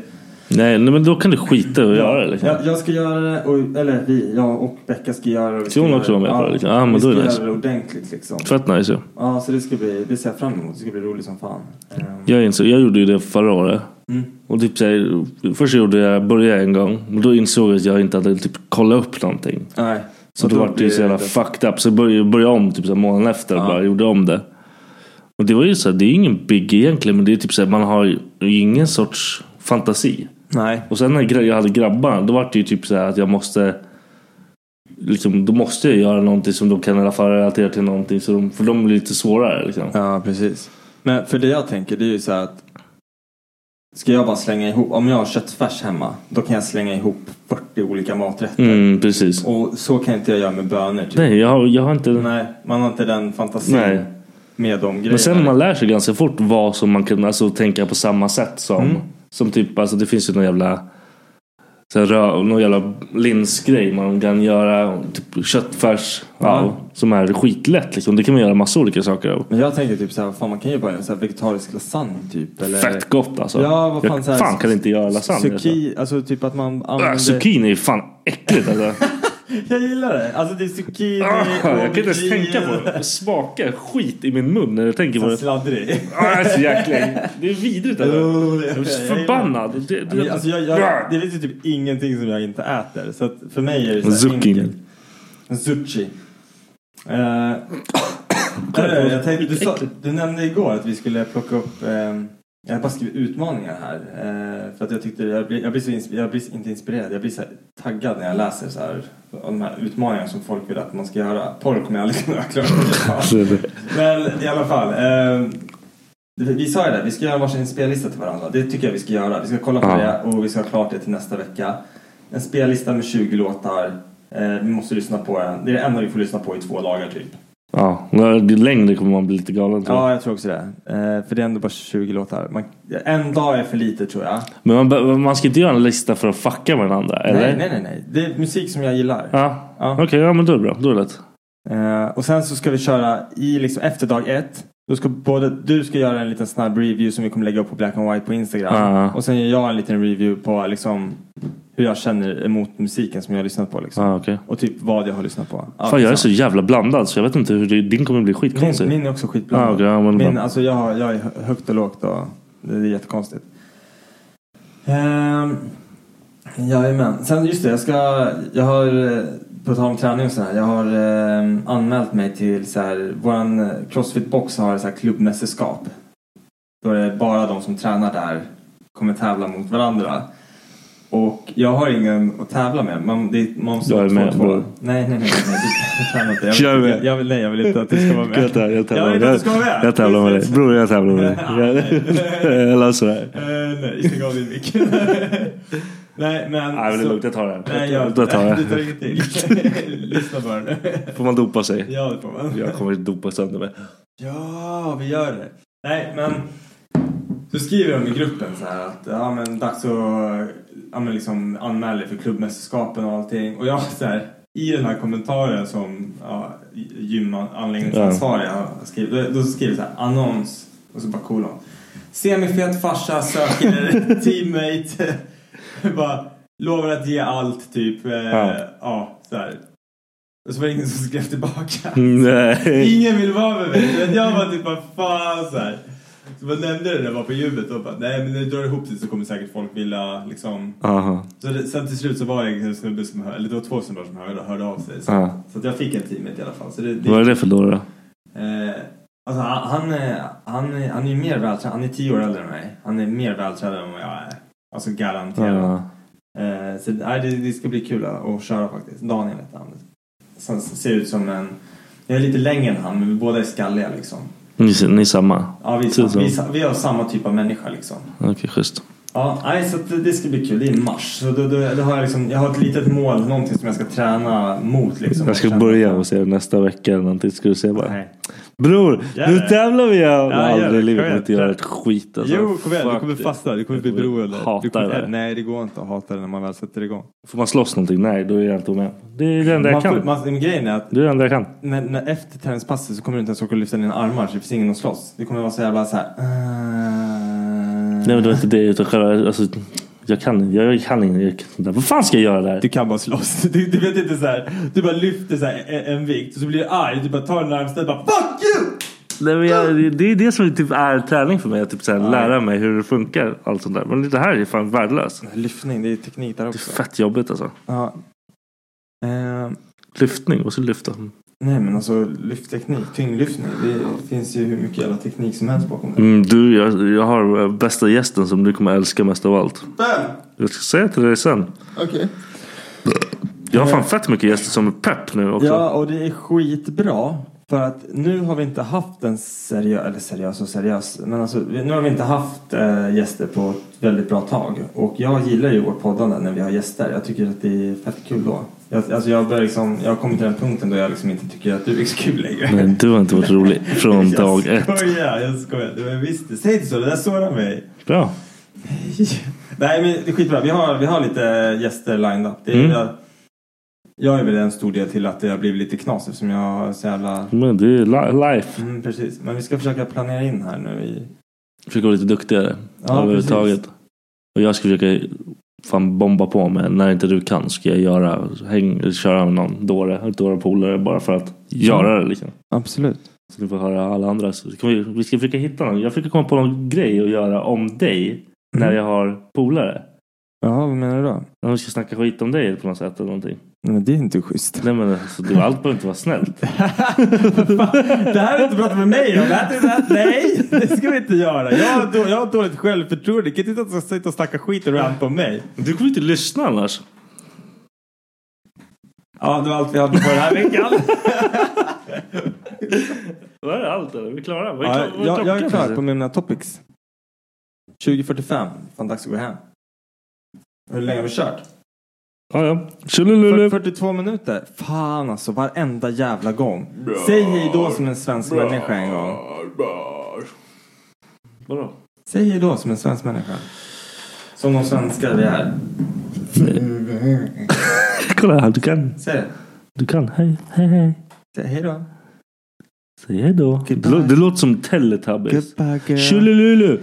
Speaker 1: Nej, nej, men då kan du skita i att göra det. Liksom.
Speaker 4: jag, jag ska göra det, och, eller vi, jag och Becka ska göra det. Vi ska
Speaker 1: Ska hon
Speaker 4: göra
Speaker 1: också vara med på det, liksom? Ja, men då
Speaker 4: vi ska
Speaker 1: är det
Speaker 4: göra
Speaker 1: nice.
Speaker 4: det ordentligt liksom.
Speaker 1: Fett nice. Ja.
Speaker 4: Ja, så det ska bli, det ser jag fram emot. Det ska bli roligt som fan. Ehm,
Speaker 1: Jag, insåg, jag gjorde ju det förra året.
Speaker 4: Mm.
Speaker 1: Och typ så här, först gjorde jag, började jag en gång. Men då insåg jag att jag inte hade typ kollat upp någonting.
Speaker 4: Nej.
Speaker 1: Så
Speaker 4: Och
Speaker 1: då
Speaker 4: då
Speaker 1: var det ju
Speaker 4: blir
Speaker 1: så jävla
Speaker 4: det-
Speaker 1: fucked up. Så jag började, började om typ så här månaden efter och
Speaker 4: Ja.
Speaker 1: bara gjorde om det. Och det var ju så här, det är ju ingen big egentligen. Men det är typ så här, man har ju ingen sorts fantasi.
Speaker 4: Nej.
Speaker 1: Och sen när gra- jag hade grabbarna, då var det ju typ så här att jag måste... Liksom, då måste jag göra någonting som de kan i alla fall relatera till någonting. Så de, för de blir lite svårare liksom.
Speaker 4: Ja, precis. Men för det jag tänker det är ju så här att Ska jag bara slänga ihop, om jag har köttfärs hemma då kan jag slänga ihop 40 olika maträtter.
Speaker 1: Mm, precis.
Speaker 4: Och så kan inte jag göra med bönor. Typ.
Speaker 1: Nej, jag har, jag har inte...
Speaker 4: Nej, man har inte den fantasin
Speaker 1: Nej.
Speaker 4: med de grejerna.
Speaker 1: Men sen man lär sig ganska fort vad som man kan alltså, tänka på samma sätt som...
Speaker 4: Mm.
Speaker 1: Som typ, alltså det finns ju någon jävla... Så här, rö- någon jävla linsgrej man kan göra. Typ köttfärs.
Speaker 4: Mm.
Speaker 1: Ja, som är skitlätt liksom. Det kan man göra massa olika saker av.
Speaker 4: Men jag tänker typ så här, fan man kan ju bara göra så här vegetarisk lasagne typ. Eller...
Speaker 1: Fett gott alltså.
Speaker 4: Ja, vad fan,
Speaker 1: jag
Speaker 4: så här,
Speaker 1: fan kan inte göra lasagne.
Speaker 4: Zucchini, alltså typ att man
Speaker 1: Äh, zucchini är ju fan äckligt alltså.
Speaker 4: [LAUGHS] Jag gillar det. Alltså det är zucchini
Speaker 1: Ah, jag kan inte ens
Speaker 4: aubergine.
Speaker 1: tänka på det. Det smakar skit i min mun när jag tänker på det.
Speaker 4: Sladdrig.
Speaker 1: Ah, jag är så jäkla Det är vidrigt. Alltså.
Speaker 4: Jo,
Speaker 1: Jag blir så
Speaker 4: jag
Speaker 1: förbannad. Det, det, Äh,
Speaker 4: Men Alltså jag, jag, det finns ju typ ingenting som jag inte äter. Så att för mig är det så här
Speaker 1: Zucchini.
Speaker 4: enkelt. Zucchi. Eh, [COUGHS] eller, jag tänkte, du, sa, du nämnde igår att vi skulle plocka upp... ehm, jag har bara skrivit utmaningar här. eh, för att jag tyckte... Jag blir, jag blir, så insp- jag blir inte inspirerad. Jag blir så här taggad när jag läser så här. Om de här utmaningarna som folk vill att man ska göra. Porr kommer jag aldrig [LAUGHS] kunna klara. Men i alla fall. ehm, det- vi sa ju det, vi ska göra varsin spellista till varandra. Det tycker jag vi ska göra. Vi ska kolla på
Speaker 1: Ja.
Speaker 4: det och vi ska ha klart det till nästa vecka. En spellista med 20 låtar. Eh, vi måste lyssna på den. Det är det enda vi får lyssna på i två dagar typ.
Speaker 1: Ja, det- längre kommer man bli lite galen tror jag.
Speaker 4: Ja, jag tror också det. Eh, för det är ändå bara 20 låtar. Man, en dag är för lite tror jag.
Speaker 1: Men man, be- man ska inte göra en lista för att fucka med den andra, eller?
Speaker 4: Nej, nej, nej, nej. Det är musik som jag gillar.
Speaker 1: Ja.
Speaker 4: Ja.
Speaker 1: Okej, ja men då är det bra. Då är det lätt.
Speaker 4: Eh, och sen så ska vi köra i liksom efter dag ett. Då ska både, du ska göra en liten snabb review som vi kommer lägga upp på Black and White på Instagram.
Speaker 1: Ja.
Speaker 4: Och sen gör jag en liten review på liksom, hur jag känner emot musiken som jag har lyssnat på. Liksom.
Speaker 1: Ah, okej.
Speaker 4: Och typ vad jag har lyssnat på. Ja,
Speaker 1: Fan jag är
Speaker 4: liksom.
Speaker 1: så jävla blandad så jag vet inte hur det, din kommer bli skitkonstig.
Speaker 4: Min, min är också skitblandad.
Speaker 1: Ah, okej, ja, men
Speaker 4: min,
Speaker 1: bra.
Speaker 4: alltså jag, har- jag är högt och lågt och det är jättekonstigt. Um, jajamän. Sen just det, jag ska... Jag har... eh, På tal om träning och sådär. Jag har ehm, anmält mig till så här... Våran eh, Crossfit-box har så här klubbmästerskap. Då är det bara de som tränar där kommer tävla mot varandra. Och jag har ingen att tävla med. Man, det, man måste
Speaker 1: Jag är
Speaker 4: två-
Speaker 1: med,
Speaker 4: två.
Speaker 1: bror.
Speaker 4: Nej, nej, nej. nej, nej. Du tränar inte.
Speaker 1: Jag är
Speaker 4: Jag, vill,
Speaker 1: med.
Speaker 4: jag, vill, nej, jag vill inte att du ska vara med.
Speaker 1: Jag tävlar, jag tävlar,
Speaker 4: Jag vill inte att du ska vara med.
Speaker 1: jag, jag tävlar med dig. Bror jag tävlar
Speaker 4: [LAUGHS]
Speaker 1: med dig. [LAUGHS] Jag, jag löser det här.
Speaker 4: Eh, nej, stäng av din mick. [LAUGHS] nej,
Speaker 1: Nej,
Speaker 4: men...
Speaker 1: men det är
Speaker 4: så-
Speaker 1: lugnt, jag tar den.
Speaker 4: Nej, jag,
Speaker 1: Då tar jag.
Speaker 4: [LAUGHS] Du tar ingenting. [LAUGHS] Lyssna bara nu.
Speaker 1: Får man dopa sig?
Speaker 4: Ja, det får man.
Speaker 1: Jag kommer dopa sönder mig.
Speaker 4: Ja, vi gör det. Nej, men... Så skriver de i gruppen så här att ja, men dags att ja, men liksom anmäla er för klubbmästerskapen och allting. Och jag så här, i den här kommentaren som ja, gymanläggningsansvariga har skrivit, då, då skriver jag så här annons och så bara kolon. Semifet farsa söker teammate. [LAUGHS] bara lovar att ge allt typ. Eh,
Speaker 1: Ja.
Speaker 4: ja. så här. Och så var det ingen som skrev tillbaka.
Speaker 1: Nej.
Speaker 4: Ingen vill vara med mig. Men jag var typ bara fan så här. Så man nämnde det när jag var på gymmet och bara nej men när du drar ihop det så kommer säkert folk vilja liksom.
Speaker 1: Aha.
Speaker 4: Så det, sen till slut så var det en snubbe som hörde, eller det var två snubbar som hörde, hörde av sig. Så,
Speaker 1: Ja.
Speaker 4: så att jag fick en teamet i alla fall. Så det, det,
Speaker 1: Vad är det för dåre då?
Speaker 4: Eh, alltså han, han, är- han, är- han är ju mer vältränad, han är tio år äldre än mig. Han är mer vältränad än vad jag är. Alltså garanterat.
Speaker 1: Ja.
Speaker 4: Eh, så nej, det, det ska bli kul att köra faktiskt. Daniel heter han. Sen ser ut som en... Jag är lite längre än han, men vi båda är skalliga liksom.
Speaker 1: Ni, ni är samma?
Speaker 4: Ja, vi, är
Speaker 1: Ser
Speaker 4: sam,
Speaker 1: ut som.
Speaker 4: vi, är sa- vi är samma typ av människa liksom.
Speaker 1: Okej, schysst.
Speaker 4: Ja, nej, så att det, det ska bli kul. Det är i mars. Så då, då, då har jag, liksom, jag har ett litet mål, någonting som jag ska träna mot liksom.
Speaker 1: Jag ska
Speaker 4: Träna.
Speaker 1: börja och se nästa vecka eller någonting. Ska du se bara.
Speaker 4: Nej.
Speaker 1: Bror,
Speaker 4: Gör
Speaker 1: nu
Speaker 4: det.
Speaker 1: tävlar vi! Jag
Speaker 4: Ja,
Speaker 1: har
Speaker 4: gör det.
Speaker 1: aldrig i livet
Speaker 4: Kom igen.
Speaker 1: kommer inte göra ett skit alltså.
Speaker 4: Jo, kom igen. Du
Speaker 1: Fuck
Speaker 4: kommer
Speaker 1: det.
Speaker 4: fastna. Du kommer bli
Speaker 1: Jag kommer
Speaker 4: beroende.
Speaker 1: hata
Speaker 4: du kommer,
Speaker 1: det där.
Speaker 4: Nej, det går inte att hata det när man väl sätter igång.
Speaker 1: Får man slåss någonting? Nej, då är jag inte med. Det är det enda jag
Speaker 4: Man får,
Speaker 1: kan.
Speaker 4: man, men grejen är att
Speaker 1: Det är det enda jag kan.
Speaker 4: när, när efter träningspasset så kommer du inte ens orka lyfta dina armar så det finns ingen att slåss. Det kommer vara så jävla så här. eh,
Speaker 1: Nej men det var inte det utan själva, alltså, jag kan jag, jag kan inte, jag kan inte. Vad fan ska jag göra där?
Speaker 4: Du kan bara slåss. [LAUGHS] Du, du vet inte så här. Du bara lyfter så här en, en vikt och så blir du arg. Du bara tar en armstöt och bara FUCK YOU!
Speaker 1: Nej, men jag, det är det som typ är träning för mig, att typ, så här, lära mig hur det funkar. Allt sånt där. Men det här är fan värdelöst.
Speaker 4: Lyftning, det är teknik där också.
Speaker 1: Fett jobbigt alltså.
Speaker 4: Ja. Eh,
Speaker 1: Lyftning, och så lyfta.
Speaker 4: nej men alltså lyftteknik, tyngdlyftning. Det finns ju hur mycket jävla teknik som helst bakom det.
Speaker 1: Mm, du, jag, jag har eh, bästa gästen som du kommer älska mest av allt.
Speaker 4: Vem?
Speaker 1: Jag ska säga till dig sen.
Speaker 4: Okej.
Speaker 1: Jag har fan fett mycket gäster som är pepp nu också.
Speaker 4: Ja, och det är skitbra. För att nu har vi inte haft en seriös, eller seriös och seriös, men alltså vi- nu har vi inte haft eh, gäster på ett väldigt bra tag. Och jag gillar ju vårt poddande när vi har gäster. Jag tycker att det är fett kul då. Jag, alltså jag, börjar liksom, jag har kommit till den punkten då jag liksom inte tycker att du är så kul längre. [LAUGHS]
Speaker 1: Men du har inte varit rolig från dag
Speaker 4: jag
Speaker 1: ett.
Speaker 4: skojar, jag skojar. Du, men visst, det. säg inte så, det där sårar mig.
Speaker 1: Bra.
Speaker 4: [LAUGHS] Nej men det är skitbra. Vi har, vi har lite eh, gäster lined up. Det är,
Speaker 1: Mm.
Speaker 4: jag, jag är väl en stor del till att det har blivit lite knas eftersom jag har så jävla...
Speaker 1: Men det är li- life.
Speaker 4: Mm, precis. Men vi ska försöka planera in här nu i...
Speaker 1: Försöka vara lite duktigare.
Speaker 4: Ja,
Speaker 1: överhuvudtaget. Och jag ska försöka fan bomba på med när inte du kan ska jag göra, häng, köra med någon dåre, dåre polare bara för att göra det liksom.
Speaker 4: Absolut.
Speaker 1: Så ni får höra alla andra. Så kan vi, vi ska försöka hitta någon. Jag försöker komma på någon grej att göra om dig när
Speaker 4: Mm.
Speaker 1: jag har polare.
Speaker 4: Jaha, vad menar du då?
Speaker 1: Om vi ska snacka skit om dig på något sätt eller någonting.
Speaker 4: Nej, men det är inte [LAUGHS] schysst.
Speaker 1: Nej men alltså, du, allt behöver inte vara snällt.
Speaker 4: Det här är inte pratat med mig om. Det här, det här, nej, det ska vi inte göra. Jag har, då, jag har dåligt självförtroende. Du kan inte sitta och- sitta och snacka skit och rant på mig.
Speaker 1: Du kommer inte lyssna annars.
Speaker 4: Ja, det var allt vi hade för den här veckan.
Speaker 1: Var det allt eller? Är vi klara? Vad är,
Speaker 4: Ja,
Speaker 1: klo- vad är
Speaker 4: jag, jag är
Speaker 1: klockan,
Speaker 4: klar
Speaker 1: precis?
Speaker 4: på mina topics. 20.45. Fan, dags att gå hem. Hur länge har vi kört?
Speaker 1: Ja, ja. Tjolilulu.
Speaker 4: 42 minuter. Fan alltså, varenda jävla gång. Säg hej då som en svensk människa en gång.
Speaker 1: Vadå?
Speaker 4: Säg hej då som en svensk människa. Som de svenskar vi är.
Speaker 1: Kolla här, du kan.
Speaker 4: Säg det.
Speaker 1: Du kan. Hej, hej, hej.
Speaker 4: Säg hej då.
Speaker 1: Säg hejdå. Det, lå- det låter som Teletubbies.
Speaker 6: Goodbye, girl.
Speaker 1: Tjolilulu.